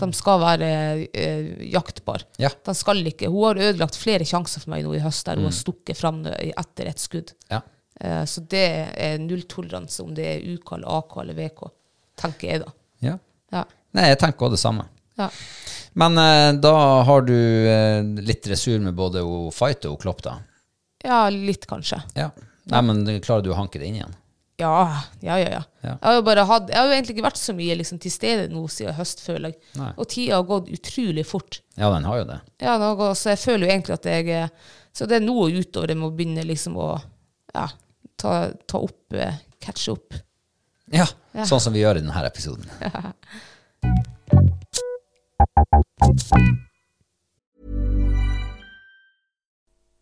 De skal være eh, jaktbare. Ja. De skal ikke. Hun har ødelagt flere sjanser for meg nå i høst der hun har stukket fram etter et skudd. Ja. Eh, Så det er nulltoleranse om det er UK eller AK eller VK, tenker jeg da. ja. Ja. Nei, jeg tenker òg det samme. Ja. Men eh, da har du eh, litt dressur med både hun Fight og hun Klopp, da. ja, litt kanskje. Ja. Nei, men klarer du å hanke det inn igjen? Ja, ja, ja. ja. Ja. Jeg, har jo bare hatt, jeg har jo egentlig ikke vært så mye liksom, til stede nå siden høst, føler jeg. Nei. Og tida har gått utrolig fort. Ja, den har jo det. Ja, nå går- så jeg føler jo egentlig at jeg eh, Så det er nå og utover jeg må begynne liksom å ja, ta, ta opp, eh, catche opp. Ja, Sånn som vi gjør i denne episoden.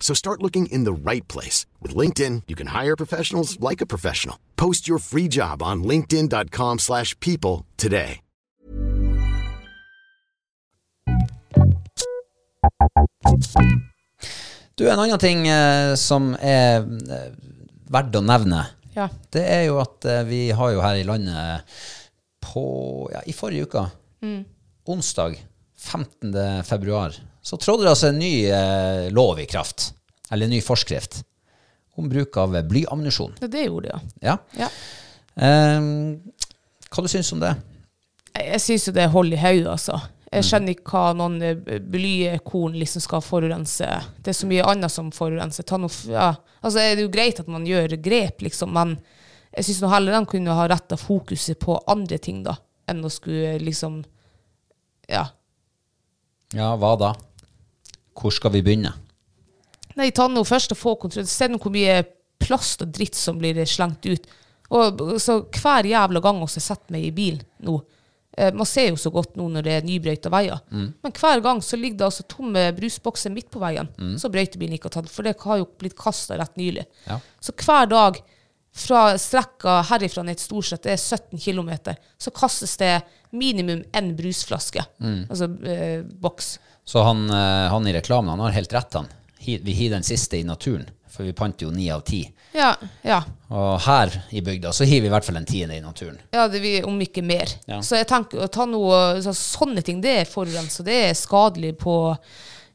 So start looking in the right place. With LinkedIn, you can hire professionals like a professional. Post your free job on linkedin.com/people slash people today. Du, En annen ting eh, som er eh, verdt å nevne, Ja. det er jo at eh, vi har jo her i landet eh, på ja, I forrige uke, onsdag 15. februar, så trådde det altså en ny eh, lov i kraft. Eller en ny forskrift om bruk av eh, blyammunisjon. Ja, det gjorde jeg. Ja. Ja. Ehm, hva du syns du om det? Jeg, jeg syns jo det er hold i hodet, altså. Jeg skjønner ikke hva noen eh, b- blykorn liksom skal forurense. Det er så mye annet som forurenser. Ta noe, f- ja. Altså, er det er jo greit at man gjør grep, liksom, men jeg syns heller de kunne ha retta fokuset på andre ting, da, enn å skulle liksom Ja. Ja, hva da? Hvor skal vi begynne? Nei, ta nå først og få kontroll. Se nå hvor mye plast og dritt som blir slengt ut. Og så Hver jævla gang også jeg setter meg i bil nå eh, Man ser jo så godt nå når det er nybrøyta veier, men hver gang så ligger det altså tomme brusbokser midt på veien, så brøytebilen ikke har tatt, for det har jo blitt kasta rett nylig. Ja. Så hver dag fra strekka herifra ned til Storslett, det er 17 km, så kastes det minimum én brusflaske, altså eh, boks. Så han, eh, han i reklamen han har helt rett, han. hi- vi hiver den siste i naturen, for vi panter jo ni av ti. Ja, ja. Og her i bygda så hiver vi i hvert fall en tiende i naturen. Ja, det vil, om ikke mer. Ja. Så jeg tenker å ta noe så, Sånne ting, det er forurensa. Det er skadelig på,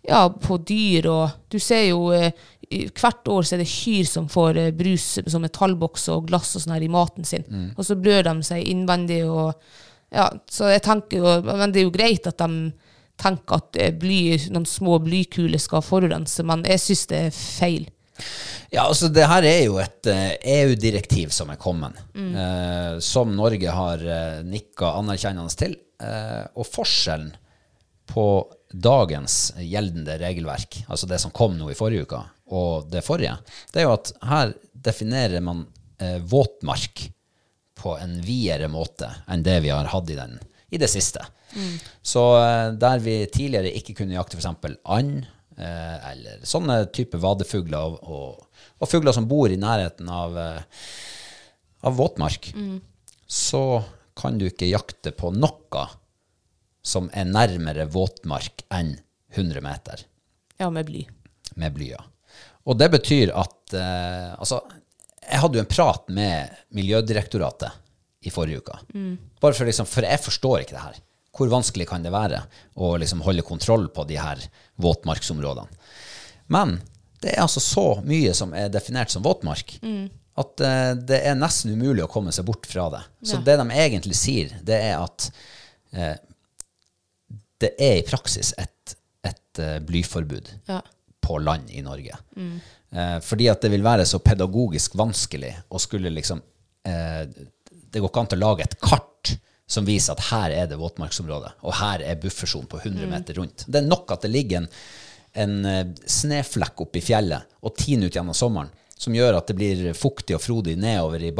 ja, på dyr og Du ser jo eh, i- Hvert år så er det kyr som får eh, brus som metallbokser og glass og sånn her i maten sin. Og så blør de seg innvendig og Ja, så jeg tenker jo Men det er jo greit at de tenker at eh, bly, noen små blykuler skal forurense, men jeg syns det er feil. Ja, altså det her er jo et eh, EU-direktiv som er kommet, eh, som Norge har uh, nikka anerkjennende til. eh, og forskjellen på dagens gjeldende regelverk, altså det som kom nå i forrige uke, og det forrige, det er jo at her definerer man eh, våtmark på en videre måte enn det vi har hatt i, den, i det siste. Så eh, der vi tidligere ikke kunne jakte f.eks. and eh, eller sånne type vadefugler og, og, og fugler som bor i nærheten av, eh, av våtmark, så kan du ikke jakte på noe som er nærmere våtmark enn 100 meter Ja, med bly. med blya. Og det betyr at eh, Altså, jeg hadde jo en prat med Miljødirektoratet i forrige uke. Bare for liksom For jeg forstår ikke det her. Hvor vanskelig kan det være å liksom holde kontroll på de her våtmarksområdene? Men det er altså så mye som er definert som våtmark, at eh, det er nesten umulig å komme seg bort fra det. Så Ja. det de egentlig sier, det er at eh, det er i praksis et, et eh, blyforbud Ja. på land i Norge. Eh, fordi at det vil være så pedagogisk vanskelig å skulle liksom eh, Det går ikke an til å lage et kart som viser at her er det våtmarksområde, og her er buffersonen på 100 meter rundt. Det er nok at det ligger en, en eh, sneflekk oppe i fjellet og tiner ut gjennom sommeren, som gjør at det blir fuktig og frodig nedover i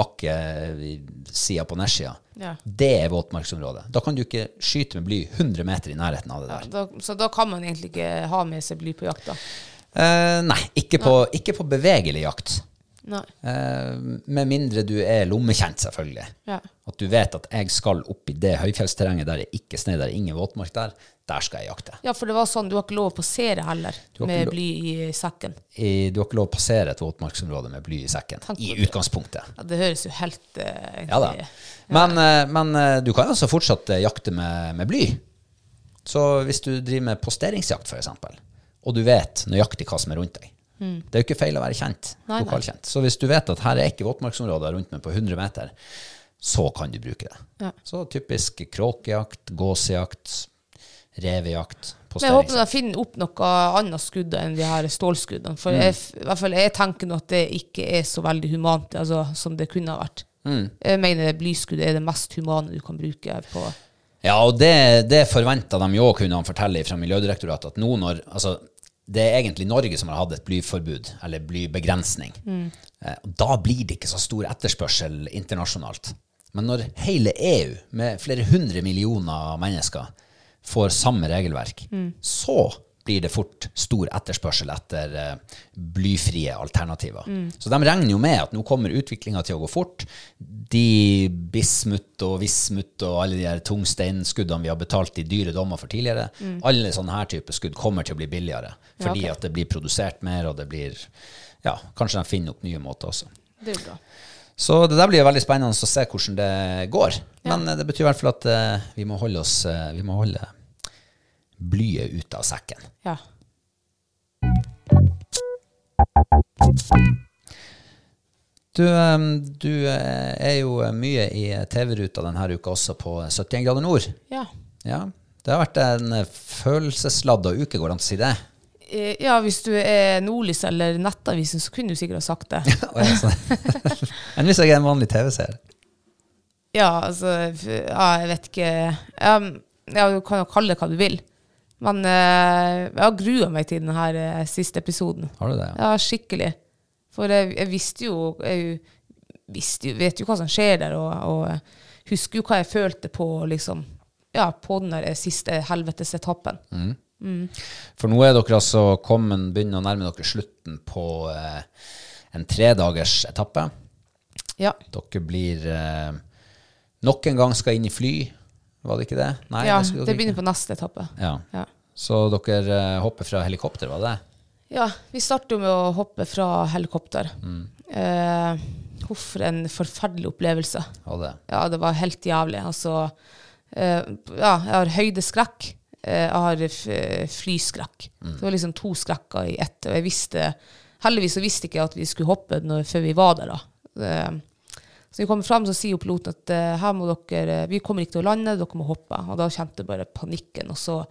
bakkesida på nedsida. Ja. Det er våtmarksområdet. Da kan du ikke skyte med bly 100 meter i nærheten av det der. Da, så da kan man egentlig ikke ha med seg bly på jakta. Eh, nei, ikke på, ikke på bevegelig jakt. Nei. Eh, med mindre du er lommekjent, selvfølgelig. Ja. At du vet at jeg skal opp i det høyfjellsterrenget der det ikke er snø, der det er ingen våtmark der. Der skal jeg jakte. Ja, for det var sånn, du har ikke lov å passere heller Du har ikke med lov- bly i sekken. I, du har ikke lov å passere et våtmarksområde med bly i sekken. Tenk på I det. utgangspunktet. Ja, det høres jo helt eh, Ja da. egentlig- Men, eh, men eh, du kan altså fortsatt eh, jakte med, med bly. Så hvis du driver med posteringsjakt, f.eks., og du vet nøyaktig hva som er rundt deg Det er jo ikke feil å være kjent, Mm. Nei, nei. lokalkjent. Så hvis du vet at her er ikke våtmarksområder rundt meg på 100 meter, så kan du bruke det. Ja. Så typisk kråkejakt, gåsejakt, revejakt, Men jeg håper de posteringsjakt. finner opp noe annet skudd enn de her stålskuddene. Mm. For jeg, f- i hvert fall jeg tenker nå at det ikke er så veldig humant altså, som det kunne ha vært. Mm. Jeg mener blyskudd er det mest humane du kan bruke på Ja, og det, det forventa de jo, kunne han fortelle fra Miljødirektoratet, at nå når Altså, det er egentlig Norge som har hatt et blyforbud, eller blybegrensning. Eh, og Da blir det ikke så stor etterspørsel internasjonalt. Men når hele EU, med flere hundre millioner mennesker, får samme regelverk, Mm. så blir det fort stor etterspørsel etter eh, blyfrie alternativer. Mm. Så de regner jo med at nå kommer utviklinga til å gå fort. De bismut og vismut og alle de her tungsteinskuddene vi har betalt i dyre dommer for tidligere, alle sånne her typer skudd kommer til å bli billigere. Mm. Ja, Fordi ok. at det blir produsert mer, og det blir Ja, kanskje de finner opp nye måter også. Det er jo bra. Så det der blir veldig spennende å se hvordan det går. Men eh, det betyr i hvert fall at eh, vi må holde oss eh, Vi må holde blyet ut av sekken. Ja. Du, eh, du eh, er jo mye i TV-ruta denne uka også på 71 grader nord. Ja. Ja, det har vært en eh, følelsesladda uke, går det an å si det? Eh, ja, hvis du er Nordlys eller Nettavisen, så kunne du sikkert ha sagt det. Og jeg er sånn- Enn hvis jeg er en vanlig TV-seer? Ja, altså f- ja, Jeg vet ikke um, ja, Du kan jo kalle det hva du vil. Men eh, jeg har grua meg til denne eh, siste episoden. Har du det? Ja, skikkelig. For jeg, jeg visste jo Jeg visste jo, vet jo hva som skjer der, og, og husker jo hva jeg følte på liksom, ja, på den der eh, siste helvetesetappen. Mm. For nå er dere altså kommet, begynner å nærme dere slutten på eh, en tredagers etappe. Ja. Dere blir eh, nok en gang skal inn i fly, var det ikke det? Nei, ja, skulle dere det begynner ikke. på neste etappe. Ja. Ja. Så dere eh, hopper fra helikopter, var det det? Ja, vi starter jo med å hoppe fra helikopter. Mm. Eh, Huff, for en forferdelig opplevelse. Og det. Ja, det var helt jævlig. Altså, eh, ja, jeg har høydeskrekk. eh, Jeg har f- flyskrekk. Det var liksom to skrekker i ett. Og jeg visste, heldigvis så visste ikke jeg at vi skulle hoppe når, før vi var der. da. Eh, så vi kommer fram, så sier jo piloten at eh, her må dere, vi kommer ikke til å lande, dere må hoppe. Og da kjente jeg bare panikken. Og så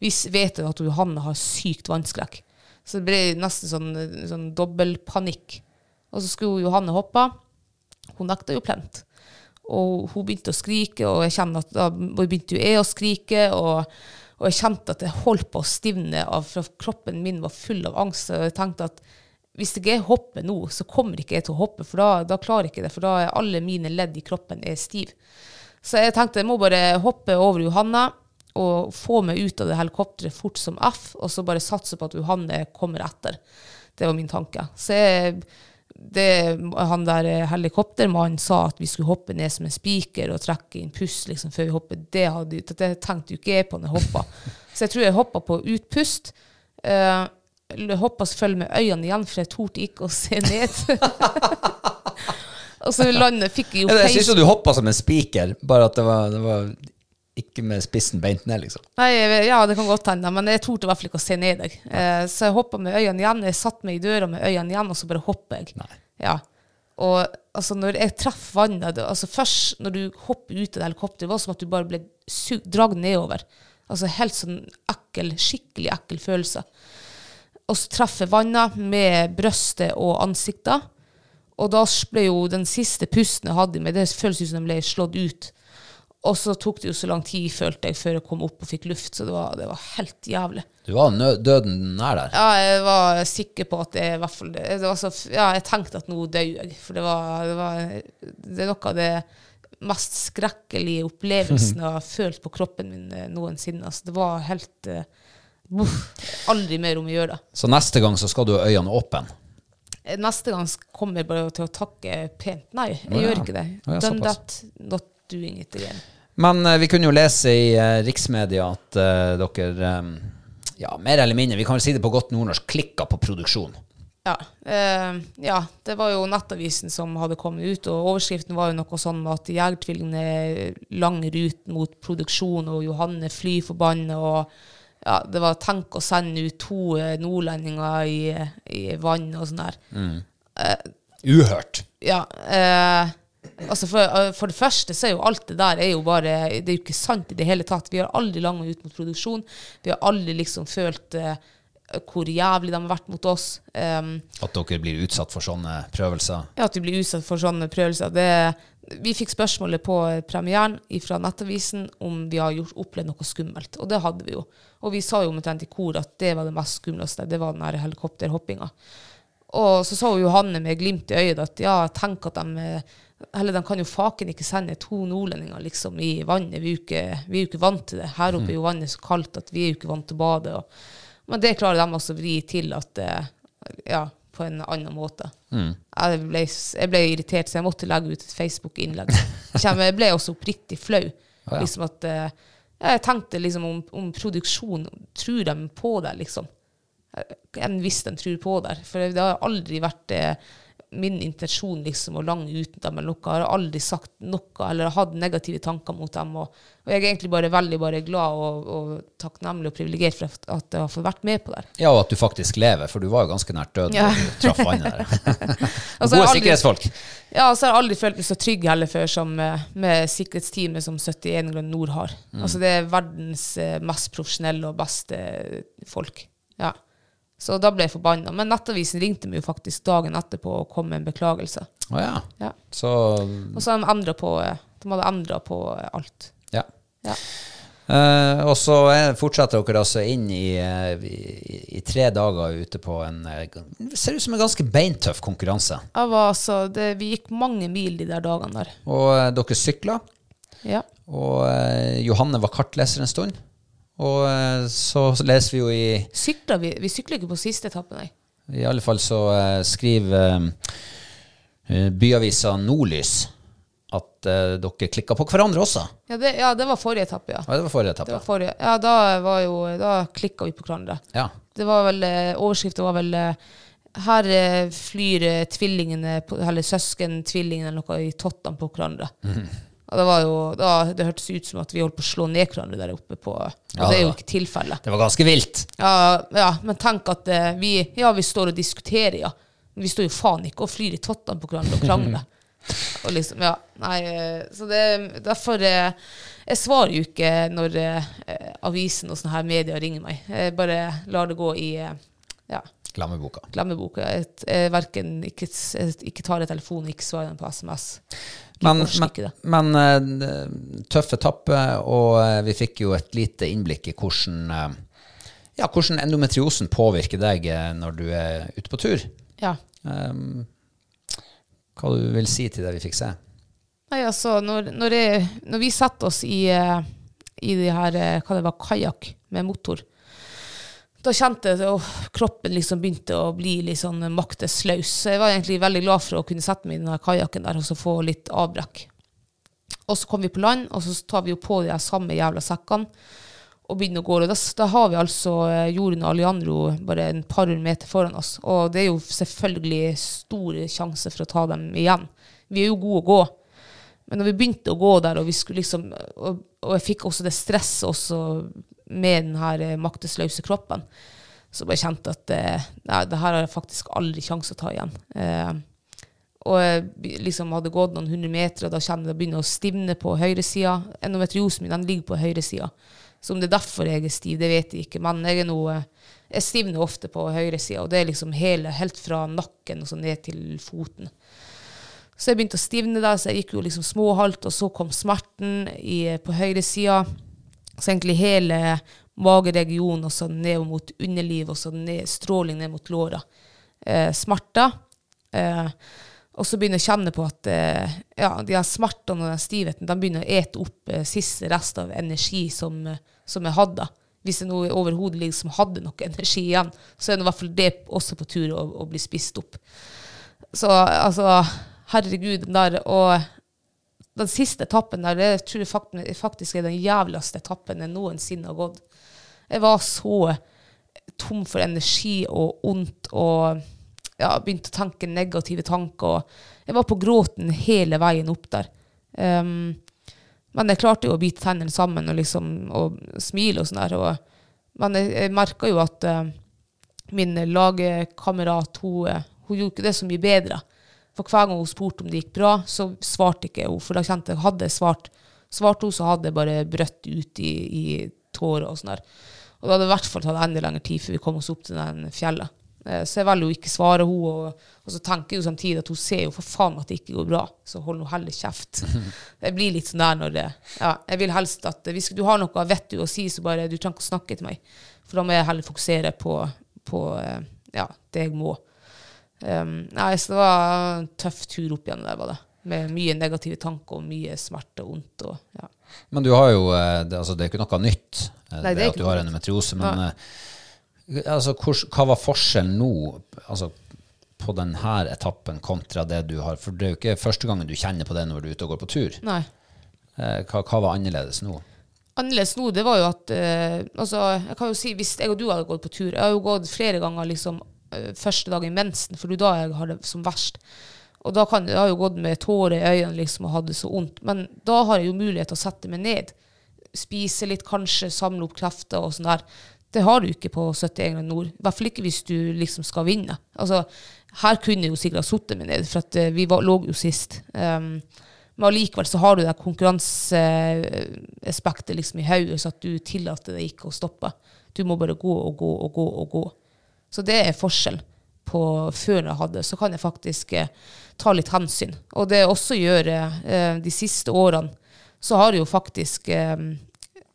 vi s- vet jo at Johanne har sykt vannskrekk. Så det ble nesten sånn, sånn dobbeltpanikk. Og så skulle Johanne hoppe. Hun nekta jo plent. Og hun begynte å skrike, og jeg kjenner at da begynte jo jeg å skrike. Og, og jeg kjente at jeg holdt på å stivne, av, for kroppen min var full av angst. Og jeg tenkte at hvis ikke jeg hopper nå, så kommer ikke jeg til å hoppe, for da, da klarer jeg ikke det. For da er alle mine ledd i kroppen er stiv. Så jeg tenkte jeg må bare hoppe over Johanne og få meg ut av det helikopteret fort som F, og så bare satse på at Johanne kommer etter. Det var min tanke. Så jeg, det, han der eh, helikoptermannen sa at vi skulle hoppe ned som en spiker og trekke inn pust liksom, før vi hoppet. Det, hadde, det tenkte jo ikke jeg på når jeg hoppa. Så jeg tror jeg hoppa på utpust. Uh, hoppa selvfølgelig med øynene igjen, for jeg torde ikke å se ned. og så landet fikk jeg jo Jeg face- syns jo du hoppa som en spiker, bare at det var, det var ikke med spissen beint ned, liksom. Nei, jeg vet- ja, det kan godt hende, men jeg torde i hvert fall ikke å se ned deg. Eh, så jeg hoppa med øynene igjen. Jeg satt meg i døra med øynene igjen, og så bare hopper jeg. Ja. Og altså, når jeg treffer vannet det- altså Først når du hopper ut av det helikopteret, det var som at du bare ble sugd- dragd nedover. Altså helt sånn ekkel, skikkelig ekkel følelse. Og så treffer vannet med brøstet og ansiktet. Og da ble jo den siste pusten jeg hadde i meg, det føles ut som den ble slått ut. Og så tok det jo så lang tid, følte jeg, før jeg kom opp og fikk luft. Så det var, det var helt jævlig. Du var nø døden nær der. Ja, jeg var sikker på at jeg i hvert fall det, det var så, f- Ja, jeg tenkte at nå dør jeg. For det var, det var Det er noe av det mest skrekkelige opplevelsen jeg har følt på kroppen min eh, noensinne. Altså, det var helt eh, uff, Aldri mer om å gjøre det. Så neste gang så skal du ha øynene åpne. Eh, Neste gang kommer jeg bare til å takke pent. Nei, jeg gjør ikke det. Å, ja, Done såpass. that, not doing it again. Men eh, vi kunne jo lese i eh, riksmedia at eh, dere eh, Ja, mer eller mindre, vi kan vel si det på godt nordnorsk, klikka på produksjon. Ja, eh, ja, det var jo Nettavisen som hadde kommet ut, og overskriften var jo noe sånn med at Jegertvillingene langer ut mot produksjon, og Johanne fly forbanna, og ja, det var tenk å sende ut to eh, nordlendinger i, i vann og sånn der. Uhørt. Ja, eh, altså for, eh, for det første så er jo alt det der er jo bare, det er jo ikke sant i det hele tatt. Vi har aldri langt ut mot produksjon. Vi har aldri liksom følt eh, hvor jævlig de har vært mot oss. Um, At dere blir utsatt for sånne prøvelser. ja, at du blir utsatt for sånne prøvelser. Det, vi fikk spørsmålet på premieren fra Nettavisen om vi har gjort, opplevd noe skummelt, og det hadde vi jo. Og vi sa jo omtrent i kor at det var det mest skumleste, det var den her helikopterhoppinga. Og så sa jo Johanne med glimt i øyet at ja, tenk at de eh, Eller de kan jo faken ikke sende to nordlendinger liksom i vannet, vi er jo ikke, vi er jo ikke vant til det. Her oppe er jo vannet så kaldt at vi er jo ikke vant til å bade. Og, men det klarer de også å vri til at eh, ja, på en annen måte. Jeg, ble, jeg ble irritert, så jeg måtte legge ut et Facebook-innlegg. Kjem- Jeg ble også oppriktig flau. Liksom at eh, Jeg tenkte liksom om, om produksjon Tror de på det, liksom? Enn hvis de tror på det. For det har aldri vært eh, min intensjon liksom å lange ut dem eller noe. Jeg har aldri sagt noe eller hatt negative tanker mot dem. Og, og jeg er egentlig bare veldig bare glad og, og takknemlig og privilegert for at- at jeg har fått vært med på det. her. Ja, og at du faktisk lever, for du var jo ganske nært døden Ja. da du traff vannet der. Altså, jeg Gode har aldri- sikkerhetsfolk. Ja, og så har jeg aldri følt meg så trygg heller før som eh, med sikkerhetsteamet som 71 Grønn Nord har. Mm. Altså det er verdens eh, mest profesjonelle og beste eh, folk. Ja. Så da ble jeg forbanna. Men Nettavisen ringte meg jo faktisk dagen etterpå og kom med en beklagelse. Å ja. Ja. Så Mm. Og så har de endret på eh, De hadde endra på eh, alt. Ja. Ja. Eh, og så eh, fortsetter dere altså inn i, eh, i, i tre dager ute på en eh, Det ser ut som en ganske beintøff konkurranse. Jeg var, altså, det, vi gikk mange mil de der dagene der. Og eh, dere sykla, Ja. og eh, Johanne var kartleser en stund. Og eh, så leser vi jo i Sykla vi Vi sykla ikke på siste etappe, nei. I alle fall så eh, skriver eh, byavisa eh, Nordlys at eh, dere klikka på hverandre også. Ja det, ja, det var forrige etappe, ja. Ja, det var forrige Det var etappe. forrige. Ja, da, var jo- da klikka vi på hverandre. Ja. Det var vel, eh, Overskriften var vel eh, 'Her eh, flyr eh, tvillingene, på- eller søskentvillingene eller noe i tottene på hverandre'. Mm. Og det, var jo, da, det hørtes ut som at vi holdt på å slå ned hverandre der oppe på Og Ja, det er det jo var- ikke tilfellet. Det var ganske vilt. Ja, ja, men tenk at eh, vi, ja, vi står og diskuterer, ja. Men vi står jo faen ikke og flyr i tottene på hverandre og krangler. og liksom, ja, nei, eh, så det, derfor eh, Jeg svarer jo ikke når eh, eh, avisen og sånne her medier ringer meg. Jeg bare lar det gå i eh, ja, Glemmeboka. glemmeboka. Jeg, jeg, verken, ikke, s- jeg ikke tar en telefon og ikke svarer den på SMS. Men, orker ikke men, det. men eh, tøff etappe, og eh, vi fikk jo et lite innblikk i hvordan, eh, ja, hvordan endometriosen påvirker deg eh, når du er ute på tur. Ja. Um, hva du vil si til det vi fikk se? Nei, altså, når, når, jeg, når vi satte oss i, eh, i de her, eh, hva det var, kajakk med motor, da kjente jeg at åh, kroppen liksom begynte å bli litt sånn maktesløs. Så Jeg var egentlig veldig glad for å kunne sette meg i denne kajakken der og så få litt avbrekk. Og så kom vi på land, og så tar vi jo på de her samme jævla sekkene og begynner å gå. Og da, s- da har vi altså eh, Jorunn og Alejandro bare en par hundre meter foran oss. Og det er jo selvfølgelig stor sjanse for å ta dem igjen. Vi er jo gode å gå. Men når vi begynte å gå der, og, vi skulle liksom, og, og jeg fikk også det stresset også med den her eh, maktesløse kroppen, så bare kjente jeg at eh, nei, det her har jeg faktisk aldri sjanse å ta igjen. Eh, og jeg be- liksom hadde gått noen hundre meter, og da kjenner jeg det begynner å stivne på høyresida. Endometriosen min den ligger på høyresida. Så om det er derfor jeg er stiv, det vet jeg ikke. Men jeg er noe, jeg stivner ofte på høyresida, og det er liksom hele, helt fra nakken og så ned til foten. Så jeg begynte å stivne der, så jeg gikk jo liksom småhalt, og så kom smerten i, på høyresida. Så egentlig hele mageregionen, og så ned mot underlivet, og så ned, stråling ned mot låra. Eh, smerter. Eh, og så begynner jeg å kjenne på at eh, ja, de her smertene og den stivheten de begynner å ete opp eh, siste rest av energi som, eh, som jeg hadde. Hvis jeg nå overhodet liksom hadde noe energi igjen, så er nå i hvert fall det også på tur å, å bli spist opp. Så altså, herregud, den der Og den siste etappen der, det tror jeg fakt- faktisk er den jævligste etappen jeg noensinne har gått. Jeg var så tom for energi og ondt og ja, begynte å tenke negative tanker. Og jeg var på gråten hele veien opp der. Ehm, men jeg klarte jo å bite tennene sammen og, liksom, og smile og sånn der. Og, men jeg, jeg merka jo at eh, min lagkamerat hun, eh, hun gjorde ikke det så mye bedre. For hver gang hun spurte om det gikk bra, så svarte ikke hun. For da kjente jeg hadde jeg svart, svarte hun, så hadde jeg bare brøtt ut i, i tårer og sånn der. Og det hadde i hvert fall tatt enda lengre tid før vi kom oss opp til den fjellet. Eh, Så jeg velger jo ikke svare hun, og, og så tenker jeg jo samtidig at hun ser jo for faen at det ikke går bra, så hold nå heller kjeft. Jeg blir litt sånn der når det Ja, jeg vil helst at eh, hvis du har noe vett du å si, så bare du trenger ikke å snakke til meg. For da må jeg heller fokusere på, på eh, ja, det jeg må. Um, nei, så det var en tøff tur opp igjen der, var det. Med mye negative tanker og mye smerte og vondt og ja. Men du har jo eh, det, altså, det er ikke noe nytt, eh, Nei, det er det ikke at du noe har nytt. endometriose. Men eh, altså, hvordan- hva var forskjellen nå altså, på denne etappen kontra det du har? For det er jo ikke første gangen du kjenner på det når du er ute og går på tur. Nei. Eh, hva, hva var annerledes nå? Annerledes nå, det var jo at eh, Altså, jeg kan jo si, hvis jeg og du hadde gått på tur Jeg har jo gått flere ganger liksom eh, første dag i mensen, for det er da jeg har det som verst. Og da kan jeg har jo gått med tårer i øynene liksom og hatt det så vondt. Men da har jeg jo mulighet til å sette meg ned. Spise litt, kanskje samle opp krefter og sånn der. Det har du ikke på 71 grader nord. I hvert fall ikke hvis du liksom skal vinne. Altså, her kunne jeg jo sikkert ha sittet meg ned, for at eh, vi var, lå jo sist. Um, men allikevel så har du det der konkurranseaspektet liksom i hodet, så at du tillater deg ikke å stoppe. Du må bare gå og gå og gå og gå. Så det er forskjell på før jeg hadde, så kan jeg faktisk eh, ta litt hensyn. Og det jeg også gjør eh, de siste årene, så har jeg jo faktisk eh,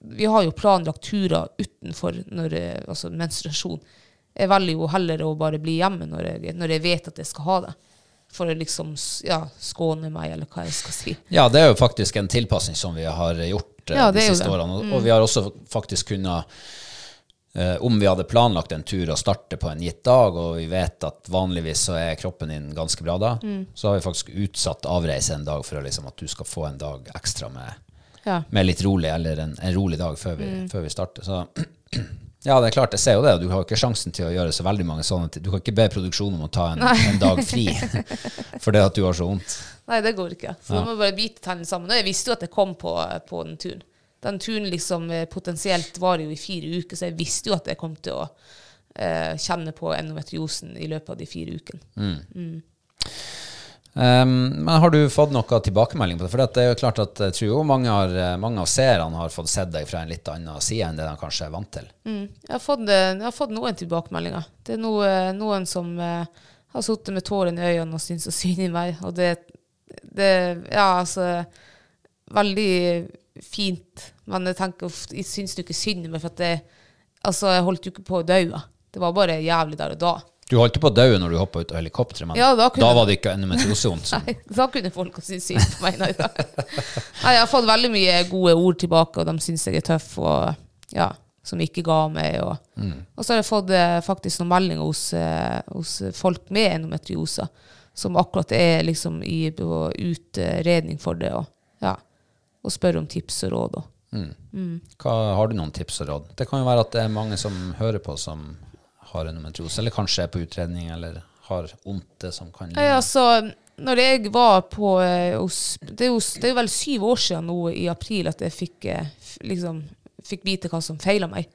Vi har jo planlagt turer utenfor når, eh, altså menstruasjon. Jeg velger jo heller å bare bli hjemme når jeg, når jeg vet at jeg skal ha det. For å liksom s- ja, skåne meg, eller hva jeg skal si. Ja, det er jo faktisk en tilpassing som vi har gjort eh, Ja, de det Mm. er jo siste det. årene. Og, og vi har også faktisk kunnet Eh, om vi hadde planlagt en tur og starte på en gitt dag, og vi vet at vanligvis så er kroppen din ganske bra da, Mm. så har vi faktisk utsatt avreise en dag for å liksom at du skal få en dag ekstra med, Ja. med litt rolig, eller en, en rolig dag før vi, Mm. før vi starter. Så ja, det er klart, jeg ser jo det, og du har jo ikke sjansen til å gjøre så veldig mange sånne ting. Du kan ikke be produksjonen om å ta en, en dag fri fordi at du har så vondt. Nei, det går ikke. Så da må vi bare bite tennene sammen. Og jeg visste jo at jeg kom på, på den turen. Den turen liksom eh, potensielt varer jo i fire uker, så jeg visste jo at jeg kom til å eh, kjenne på endometriosen i løpet av de fire ukene. Um, men har du fått noe tilbakemelding på det? For det er jo klart at jeg tror jo mange, har, eh, mange av seerne har fått sett deg fra en litt annen side enn det de kanskje er vant til. Jeg har fått, eh, jeg har fått noen tilbakemeldinger. Det er noe, noen som eh, har sittet med tårene i øynene og syns og synd i meg. Og det, det Ja, altså Veldig fint. Men jeg tenker uff, jeg syns du ikke synd i meg, for at jeg, altså, jeg holdt jo ikke på å dø. da. Det var bare jævlig der og da. Du holdt jo på å dø når du hoppa ut av helikopteret, men Ja, da, da kunne jeg- var det ikke endometriosevondt. Nei, da kunne folk ha syntes synd på meg. Nei, da. Nei, jeg har fått veldig mye gode ord tilbake, og de syns jeg er tøff, og ja, som ikke ga meg. Og, og så har jeg fått eh, faktisk noen meldinger hos, eh, hos folk med endometriose, som akkurat er liksom i på utredning for det, og, ja, og spør om tips og råd. Og. Mm. Mm. Hva, har du noen tips og råd? Det kan jo være at det er mange som hører på som har endometriose, eller kanskje er på utredning, eller har vondt det som kan Nei, altså, når jeg var på eh, hos, det, er jo, s- det er jo vel syv år siden nå i april at jeg fikk, eh, f- liksom, fikk vite hva som feila meg.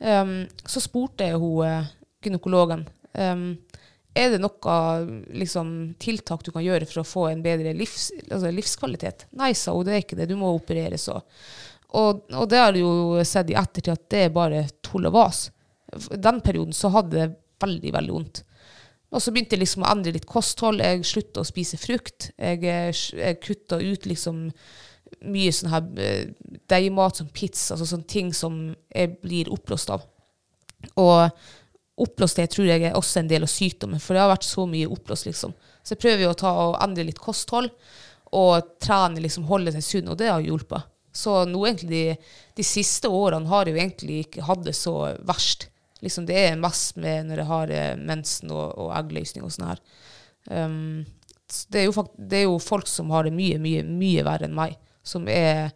Ehm, så spurte jeg hun eh, gynekologen ehm, er det noe liksom, tiltak du kan gjøre for å få en bedre livs, altså, livskvalitet. Nei, sa hun, det er ikke det. Du må opereres. Og, og, og det har jeg jo sett i ettertid at det er bare tull og vas. Den perioden så hadde jeg veldig, veldig vondt. Og så begynte jeg liksom å endre litt kosthold. Jeg slutta å spise frukt. Jeg, eh, s- jeg kutta ut liksom mye sånn her eh, deigmat som pizza, altså sånne ting som jeg blir oppblåst av. Og oppblåsthet tror jeg er også en del av sykdommen, for det har vært så mye oppblåst, liksom. Så jeg prøver jo å ta og endre litt kosthold, og trene liksom, holde seg sunn, og det har hjulpet. Så nå egentlig de, de siste årene har jeg jo egentlig ikke hatt det så verst. Liksom det er mest med når jeg har eh, mensen og, og eggløsning og sånn her. Um, så det, er jo fakt det er jo folk som har det mye, mye, mye verre enn meg, som er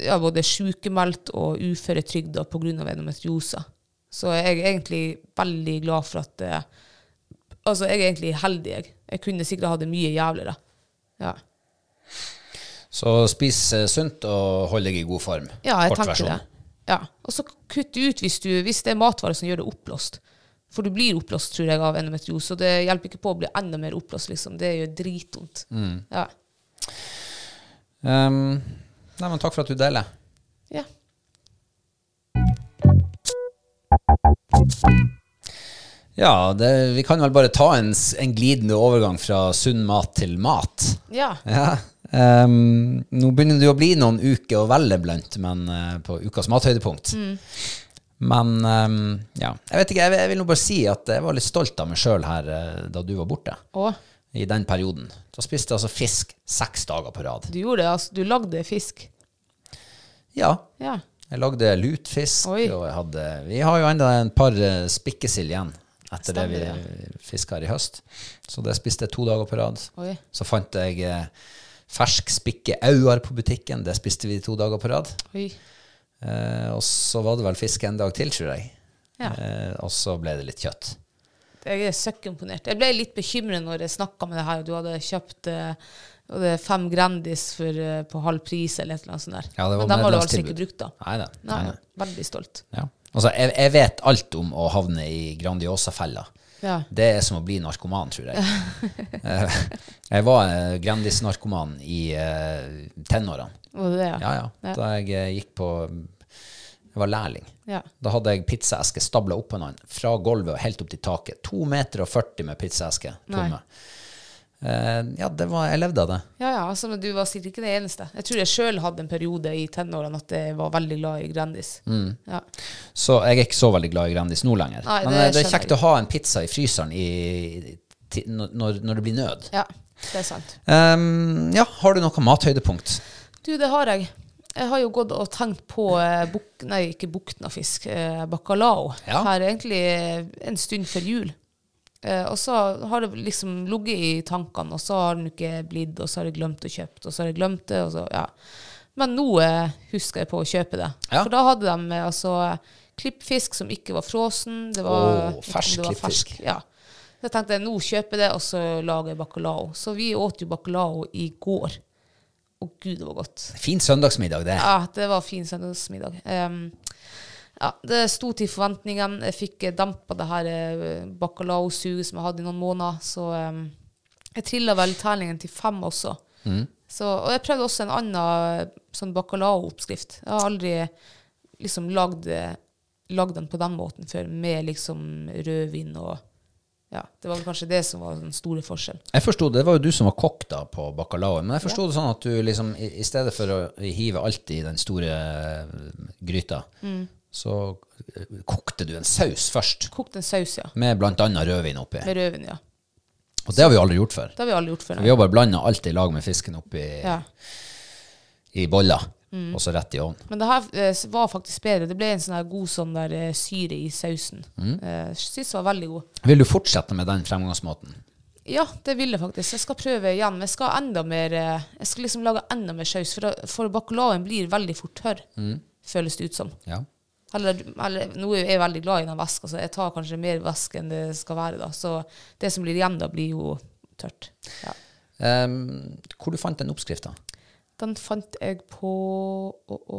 ja, både sykemeldt og uføretrygda pga. endometriose. Så jeg er egentlig veldig glad for at eh, Altså, jeg er egentlig heldig, jeg. Jeg kunne sikkert hatt det mye jævligere. Ja. Så spis eh, sunt og hold deg i god form. Ja, jeg Kort tenker versjon. det. Ja. Og så kutt ut hvis, du, hvis det er matvarer som gjør det oppblåst. For du blir oppblåst, tror jeg, av endometriose. Og det hjelper ikke på å bli enda mer oppblåst, liksom. Det gjør dritvondt. Mm. Ja. Um, nei, men takk for at du deler. ja. Ja, det, vi kan vel bare ta en, s- en glidende overgang fra sunn mat til mat. Ja. Ja. ehm, nå begynner det jo å bli noen uker å velge blant, men eh, på ukas mathøydepunkt. Men ehm, ja, jeg vet ikke, jeg, vil- jeg vil nå bare si at jeg var litt stolt av meg sjøl her eh, da du var borte. Og I den perioden. Da spiste jeg altså fisk seks dager på rad. du gjorde det, altså. Du lagde fisk. Ja. Ja. Jeg lagde lutfisk, Oi. og jeg hadde Vi har jo enda en par eh, spikkesild igjen etter Stemmer det vi fiska her i høst. Så det spiste jeg to dager på rad. Oi. Så fant jeg eh, fersk spikke auer på butikken. Det spiste vi to dager på rad. Oi. Eh, og så var det vel fisk en dag til, tror jeg. Ja. Eh, og så ble det litt kjøtt. Jeg er søkkimponert. Jeg ble litt bekymret når jeg snakka med deg her, og du hadde kjøpt eh, og det er fem Grandis for, eh, på halv pris eller et eller annet sånt der. Ja, det var Men dem har du altså medlemstilbud. ikke brukt, da. Nei da. Nei, Nei, nei. Veldig stolt. Ja. Altså, jeg, jeg vet alt om å havne i Grandiosa-fella. Ja. Det er som å bli narkoman, tror jeg. Eh, jeg var eh, Grandis-narkoman i eh, tenårene. Og det, Ja, ja. Da jeg eh, gikk på Jeg var lærling. Ja. Da hadde jeg pizzaeske stabla oppå hverandre fra gulvet og helt opp til taket. 2 meter og 40 med pizzaeske tomme. Eh, ja, det var, jeg levde av det. Ja, ja, altså, men du var sikkert ikke det eneste. Jeg tror jeg sjøl hadde en periode i tenårene at jeg var veldig glad i Grandis. Mm. Ja. Så jeg er ikke så veldig glad i Grandis nå lenger. Nei, Men eh, det det er skjønner kjekt jeg. å ha en pizza i fryseren i, ti- når, når det blir nød. ja, det er sant. Ehm, ja, har du noe mathøydepunkt? Du, det har jeg. Jeg har jo gått og tenkt på eh, buk, Nei, ikke buknafisk. Eh, bacalao. Ja. Her egentlig eh, en stund før jul. Eh, og så har det liksom ligget i tankene, og så har den ikke blitt, og så har jeg glemt å kjøpe det, og så har jeg glemt det, og så, ja. Men nå eh, husker jeg på å kjøpe det. Ja. For da hadde de eh, altså klippfisk som ikke var frossen. Det var, Åh, fersk det var klippfisk. fersk, Ja. Så jeg tenkte jeg, nå kjøper jeg det, og så lager jeg bacalao. Så vi åt jo bacalao i går. Å gud, det var godt. Fin søndagsmiddag, det. Ja, det var fin søndagsmiddag. Ehm, ja, det sto til forventningene. Jeg fikk eh, dampa det her eh, bacalao-suget som jeg hadde i noen måneder. Så ehm, jeg trilla vel terningen til fem også. Mm. Så, og jeg prøvde også en annen eh, sånn bacalao-oppskrift. Jeg har aldri liksom lagd, eh, lagd den på den måten før, med liksom rødvin og ja, Det var vel kanskje det som var den store forskjellen. Jeg forstod, Det var jo du som var kokk da på bacalaoen. Men jeg forsto det sånn at du liksom, i, i stedet for å hive alt i den store eh, gryta, så eh, kokte du en saus først. Kokt en saus, ja. Med bl.a. rødvin oppi. Med rødvin, ja. Og det har vi jo aldri gjort før. Det har vi alle gjort før. Vi har bare blanda alt i lag med fisken oppi Ja. i boller, og så rett i ovnen. Men det her eh, s- var faktisk bedre. Det ble en sånn her god sånn der eh, syre i sausen. Mm. Eh, Syns det var veldig god. Vil du fortsette med den fremgangsmåten? Ja, det vil jeg faktisk. Jeg skal prøve igjen. Men jeg skal ha enda mer eh, Jeg skal liksom lage enda mer saus, for, da- for bacalaoen blir veldig fort tørr, Mm. føles det ut som. Ja. Eller, eller, nå er jeg veldig glad i den væska, så jeg tar kanskje mer væske enn det skal være. da. Så det som blir igjen da, blir jo tørt. Ja. Um, hvor du fant den oppskrifta? Den fant jeg på å, å,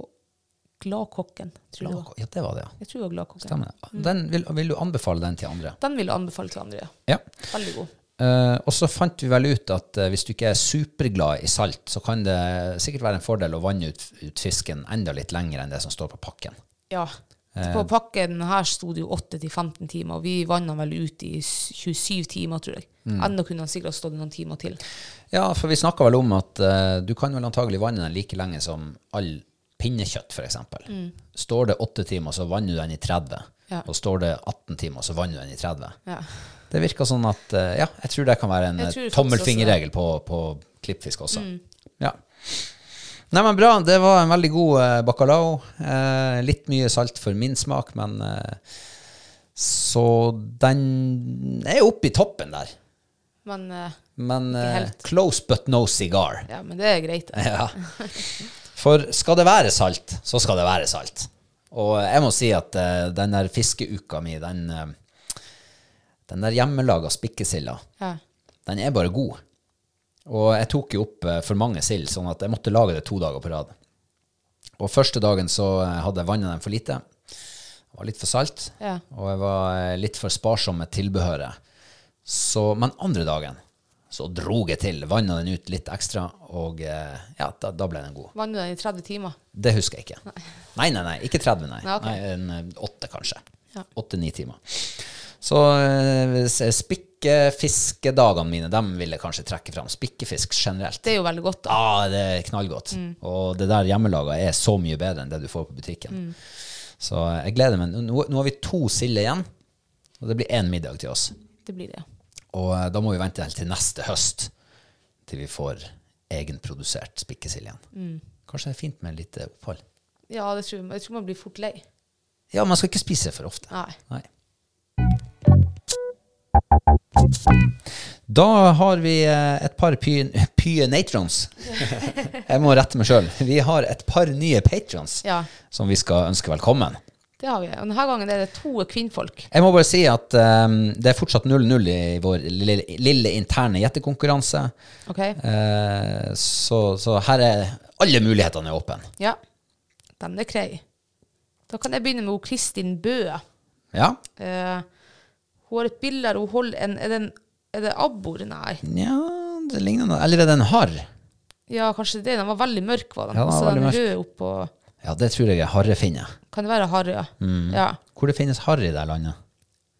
Gladkokken, tror jeg det var. Ja, det var det, ja. Jeg tror det var Gladkokken. Stemmer det. Den vil, vil du anbefale den til andre? Den vil jeg anbefale til andre. ja. Ja. Veldig god. Eh, og så fant vi vel ut at eh, hvis du ikke er superglad i salt, så kan det sikkert være en fordel å vanne ut, ut fisken enda litt lenger enn det som står på pakken. Ja. Eh. På pakken her sto det jo 8-15 timer, og vi vanna vel ut i s- 27 timer, tror jeg. Mm. Enda kunne han sikkert ha stått noen timer til. Ja, for vi snakka vel om at eh, du kan vel antagelig vanne den like lenge som all pinnekjøtt, f.eks. eksempel Står det åtte timer, så vanner du den i 30. Mm. Ja. Og står det 18 timer, så vanner du den i 30. Ja. Det virker sånn at eh, Ja, jeg tror det kan være en Jeg eh, tror faktisk Mm. tommelfingerregel på, på klippfisk også. Ja. Nei, men bra. Det var en veldig god eh, bacalao. Eh, litt mye salt for min smak, men eh, Så den er oppe i toppen der. Men, eh, Men Ikke eh, helt. close but no cigar. ja, men det er greit. det. Ja. For skal det være salt, så skal det være salt. Og jeg må si at eh, den der fiskeuka mi, den, eh, den der hjemmelaga spikkesilda, Ja. den er bare god. Og jeg tok jo opp eh, for mange sild, sånn at jeg måtte lage det to dager på rad. Og første dagen så eh, hadde jeg vannet den for lite. Det var litt for salt, Ja. og jeg var eh, litt for sparsom med tilbehøret. Så, men andre dagen så drog jeg til, vannet den ut litt ekstra, og eh, ja, da, da ble den god. Vanna den i 30 timer. Det husker jeg ikke. Nei, nei, nei. Ikke 30, nei. Nei, ok. nei en, eh, åtte, kanskje. Ja. Åtte-ni timer. Så eh, s- spikkefiskedagene mine, dem vil jeg kanskje trekke fram. Spikkefisk generelt. Det Mm. er jo veldig godt, da. Ja, det er knallgodt. Og det der hjemmelaga er så mye bedre enn det du får på butikken. Mm. Så eh, jeg gleder meg. Nå, nå har vi to silder igjen, og det blir én middag til oss. Det blir det. Og eh, da må vi vente helt til neste høst til vi får egenprodusert spikkesild igjen. Mm. Kanskje det er fint med litt eh, opphold. Ja, det tror jeg. jeg tror man blir fort lei. Ja, man skal ikke spise for ofte. Nei. Da har vi eh, et par py- pye natrons. Jeg må rette meg sjøl. Vi har et par nye patrons Ja, som vi skal ønske velkommen. det har vi. Og denne gangen er det to kvinnfolk. Jeg må bare si at eh, det er fortsatt 0-0 i vår lille, lille interne gjettekonkurranse. OK? Eh, så, så her er alle mulighetene er åpne. Ja. Den er grei. Da kan jeg begynne med hun Kristin Bøe. Ja? Eh, hun har et bilde der hun holder en Er det, en, er det abbor? Nei. Nja, det ligner noe. Eller er det en harr? Ja, kanskje det. Den var veldig mørk, var den. Ja, den var så den veldig mørk. rød oppå Ja, det tror jeg er harrefinne. Kan det være harry? Ja. Mm. ja. Hvor det finnes harr i det landet?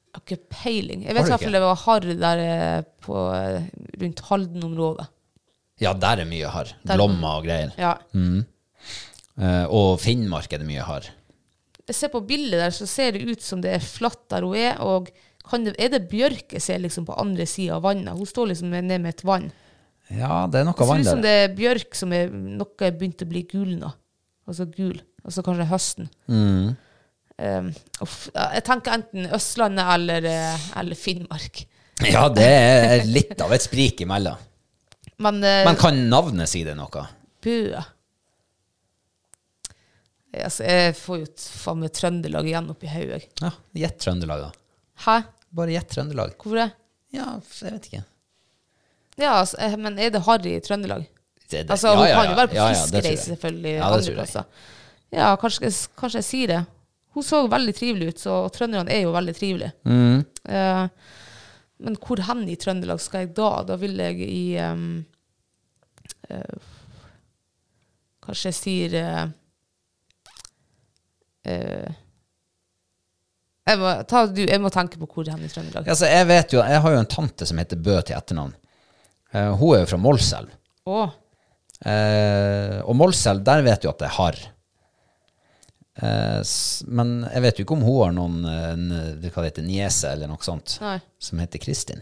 Jeg har ikke peiling. Jeg Har vet du i hvert fall ikke? det var harry der eh, på, eh, rundt Halden-området. Ja, der er mye harr. Der- Glomma og greier. Ja. Eh, og Finnmark er det mye harr. Jeg ser på bildet der, så ser det ut som det er flatt der hun er. Og kan det, er det bjørk jeg ser liksom på andre sida av vannet? Hun står liksom ned med et vann. Ja, det er Det noe ser vann ut som der. det er bjørk som er noe er begynt å bli gulna. og så Altså gul, og så kanskje høsten. Mm. Um, uff, ja, jeg tenker enten Østlandet eller, eh, eller Finnmark. Ja, det er litt av et sprik imellom. Men, eh, Men kan navnet si det noe? Bø Ja, altså, Jeg får jo t- faen meg Trøndelag igjen oppi hodet. jeg. Ja, Gjett Trøndelag, da. Hæ? Bare gjett Trøndelag. Hvorfor det? Ja, jeg vet ikke. Ja, altså, eh, Men er det harry i Trøndelag? Det- det- Altså, ja, Hun ja, kan ja. jo være på Ja, ja, det tror jeg. fiskereise, selvfølgelig. Ja, det tror andre jeg. plasser. Ja, kanskje, jeg s- kanskje jeg sier det. Hun så veldig trivelig ut, så og trønderne er jo veldig trivelige. Mm. Eh, men hvor hen i Trøndelag skal jeg da? Da vil jeg i ehm, eh, Kanskje jeg sier eh, eh, jeg, må, ta, du, jeg må tenke på hvor hen i Trøndelag. Altså, jeg vet jo, jeg har jo en tante som heter Bø til etternavn. Eh, hun er jo fra Målselv. Å, Eh, og Målselv, der vet du at det er harr. Eh, s- men jeg vet jo ikke om hun har noen eh, n- hva det heter, niese eller noe sånt Nei. som heter Kristin.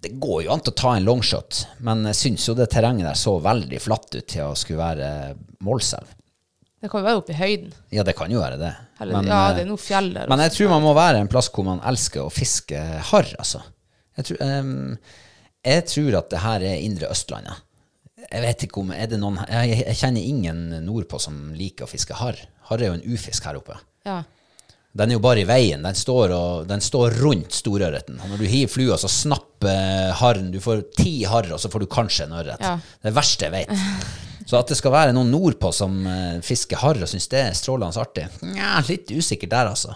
Det går jo an til å ta en longshot, men jeg syns jo det terrenget der så veldig flatt ut til å skulle være Målselv. det kan jo være oppe i høyden. Ja, det kan jo være det. Eller, ja, eh, det er noe fjell der. Men også. jeg tror man må være en plass hvor man elsker å fiske harr, altså. Jeg tror, ehm, jeg tror at det her er indre Østlandet. Jeg vet ikke om er det noen Jeg, jeg kjenner ingen nordpå som liker å fiske harr. Harr er jo en ufisk her oppe. ja. Den er jo bare i veien. Den står, og, den står rundt storørreten. Og når du hiver flua, så snapper eh, harren. Du får ti harr, og så får du kanskje en ørret. Ja. Det er det verste jeg vet. Så at det skal være noen nordpå som eh, fisker harr og syns det er strålende artig, Nja, litt usikkert der, altså.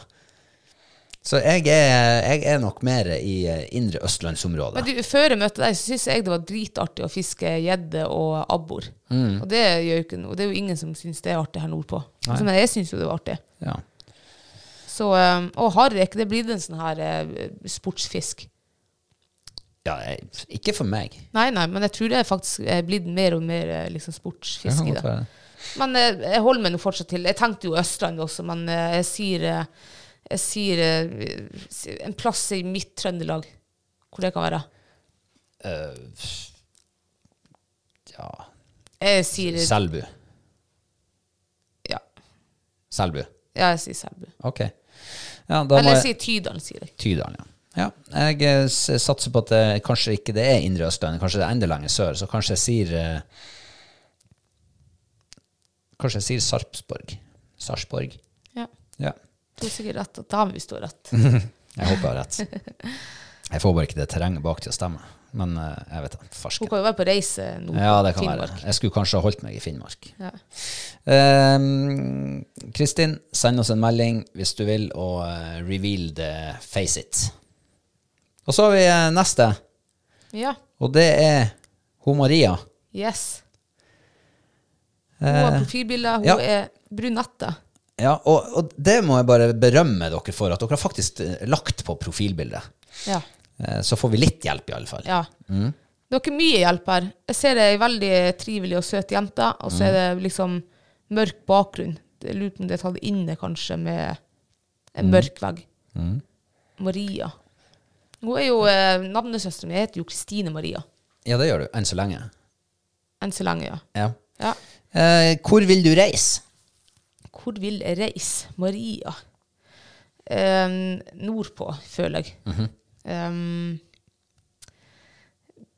Så jeg er, jeg er nok mer i eh, indre østlandsområdet. Men du, før jeg møtte deg, så syns jeg det var dritartig å fiske gjedde og abbor. Mm. Og det gjør jo ikke noe. Det er jo ingen som syns det er artig her nordpå. Altså, men jeg syns jo det var artig. Ja. Så, eh, og harrek, det blir en sånn her eh, sportsfisk. ja, jeg, ikke for meg. Nei, nei, men jeg tror det er faktisk eh, blitt mer og mer eh, liksom, sportsfisk Det kan i godt det. være. Men eh, jeg holder meg nå fortsatt til Jeg tenkte jo Østlandet også, men eh, jeg sier, eh, jeg sier eh, si- en plass i mitt Trøndelag. Hvor det kan være. Eh, Ja. Jeg sier Selbu. Eh, Ja, Selbu. ja jeg sier Selbu. Ok. Ja, da må Eller jeg- jeg sier Tydalen, sier jeg. Tydalen, ja. Ja, jeg eh, s- satser på at det, kanskje ikke det er Indre Østlandet, kanskje det er enda lenger sør, så kanskje jeg sier eh, Kanskje jeg sier Sarpsborg. Sarpsborg. Ja. Ja. Du har sikkert rett. Da har vi stå rett. Jeg håper jeg har rett. Jeg får bare ikke det terrenget bak til å stemme. Men eh, jeg vet da, Hun farsken. kan jo være på reise nå. Ja, det kan Finnmark. være. Jeg skulle kanskje ha holdt meg i Finnmark. Ja. Ehm, Kristin, send oss en melding hvis du vil, og eh, reveal the face it. Og så har vi eh, neste. ja. Og det er hun Maria. Yes. Hun har profilbilder. Hun Eh, ja. er brunette. Ja, og, og det må jeg bare berømme dere for, at dere har faktisk eh, lagt på profilbildet. Ja. Eh, Så får vi litt hjelp, i alle fall. ja. Mm. Dere er mye hjelp her. Jeg ser ei veldig trivelig og søt jente, og så er Mm. det liksom mørk bakgrunn. Jeg lurer på om det er tatt inne, kanskje, med Mm. en mørk vegg. Maria. Hun er jo eh, navnesøsteren min. Jeg heter jo Kristine Maria. Ja, det gjør du. Enn så lenge. Enn så lenge, ja. Ja. ja. Eh, hvor vil du reise? Hvor vil jeg reise? Maria. Em, nordpå, føler jeg. Mhm. Em,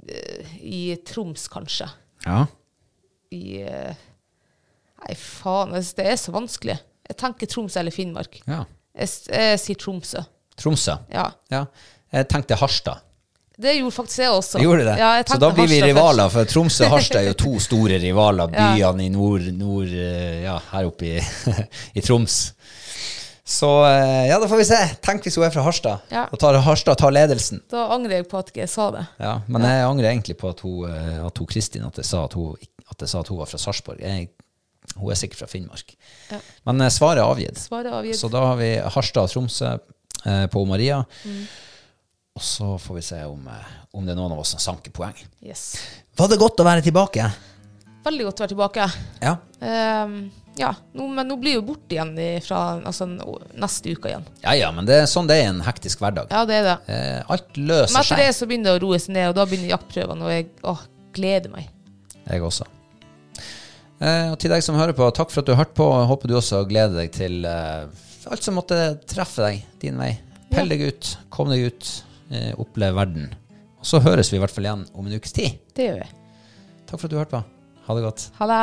eh, I Troms, kanskje. Ja. I eh, Nei, faen, altså, det er så vanskelig. Jeg tenker Troms eller Finnmark. ja. Jeg, s- jeg sier Tromsø. Tromsø. Ja. Ja. Jeg tenkte Harstad. Det gjorde faktisk jeg også. Gjorde du det? Ja, jeg så da tenkte blir vi Harstad rivaler, først. for Tromsø og Harstad er jo to store rivaler, Ja. byene i nord, nord eh, Ja, her oppe i, i Troms. Så eh, ja, da får vi se. Tenk hvis hun er fra Harstad, Ja. og tar Harstad tar ledelsen. Da angrer jeg på at ikke jeg sa det. Ja, men jeg angrer egentlig på at hun, eh, at hun Kristin at jeg sa at hun, ikk- at jeg sa at hun var fra Sarpsborg. Jeg- Hun er sikkert fra Finnmark. Men eh, svaret er avgitt. Svaret er avgitt. Så da har vi Harstad og Tromsø eh, på Maria. Mm. Og så får vi se om, eh, om det er noen av oss som sanker poeng. Yes. Var det godt å være tilbake? Veldig godt å være tilbake. Ja. Ehm, ja, nå, men nå blir jeg jo borte igjen i- fra altså, n- å- neste uke igjen. ja ja, men det er sånn det er i en hektisk hverdag. Ja, det er det. Eh, alt Men løser etter det seg. så begynner det å roe seg ned, og da begynner jaktprøvene, og jeg åh, gleder meg. Jeg også. Eh, og til deg som hører på, takk for at du har hørt på. Jeg håper du også gleder deg til eh, alt som måtte treffe deg din vei. Pell deg ut, kom deg ut, eh, opplev verden. Og så høres vi i hvert fall igjen om en ukes tid. Det gjør vi. Takk for at du hørte på. Ha det godt. Ha det.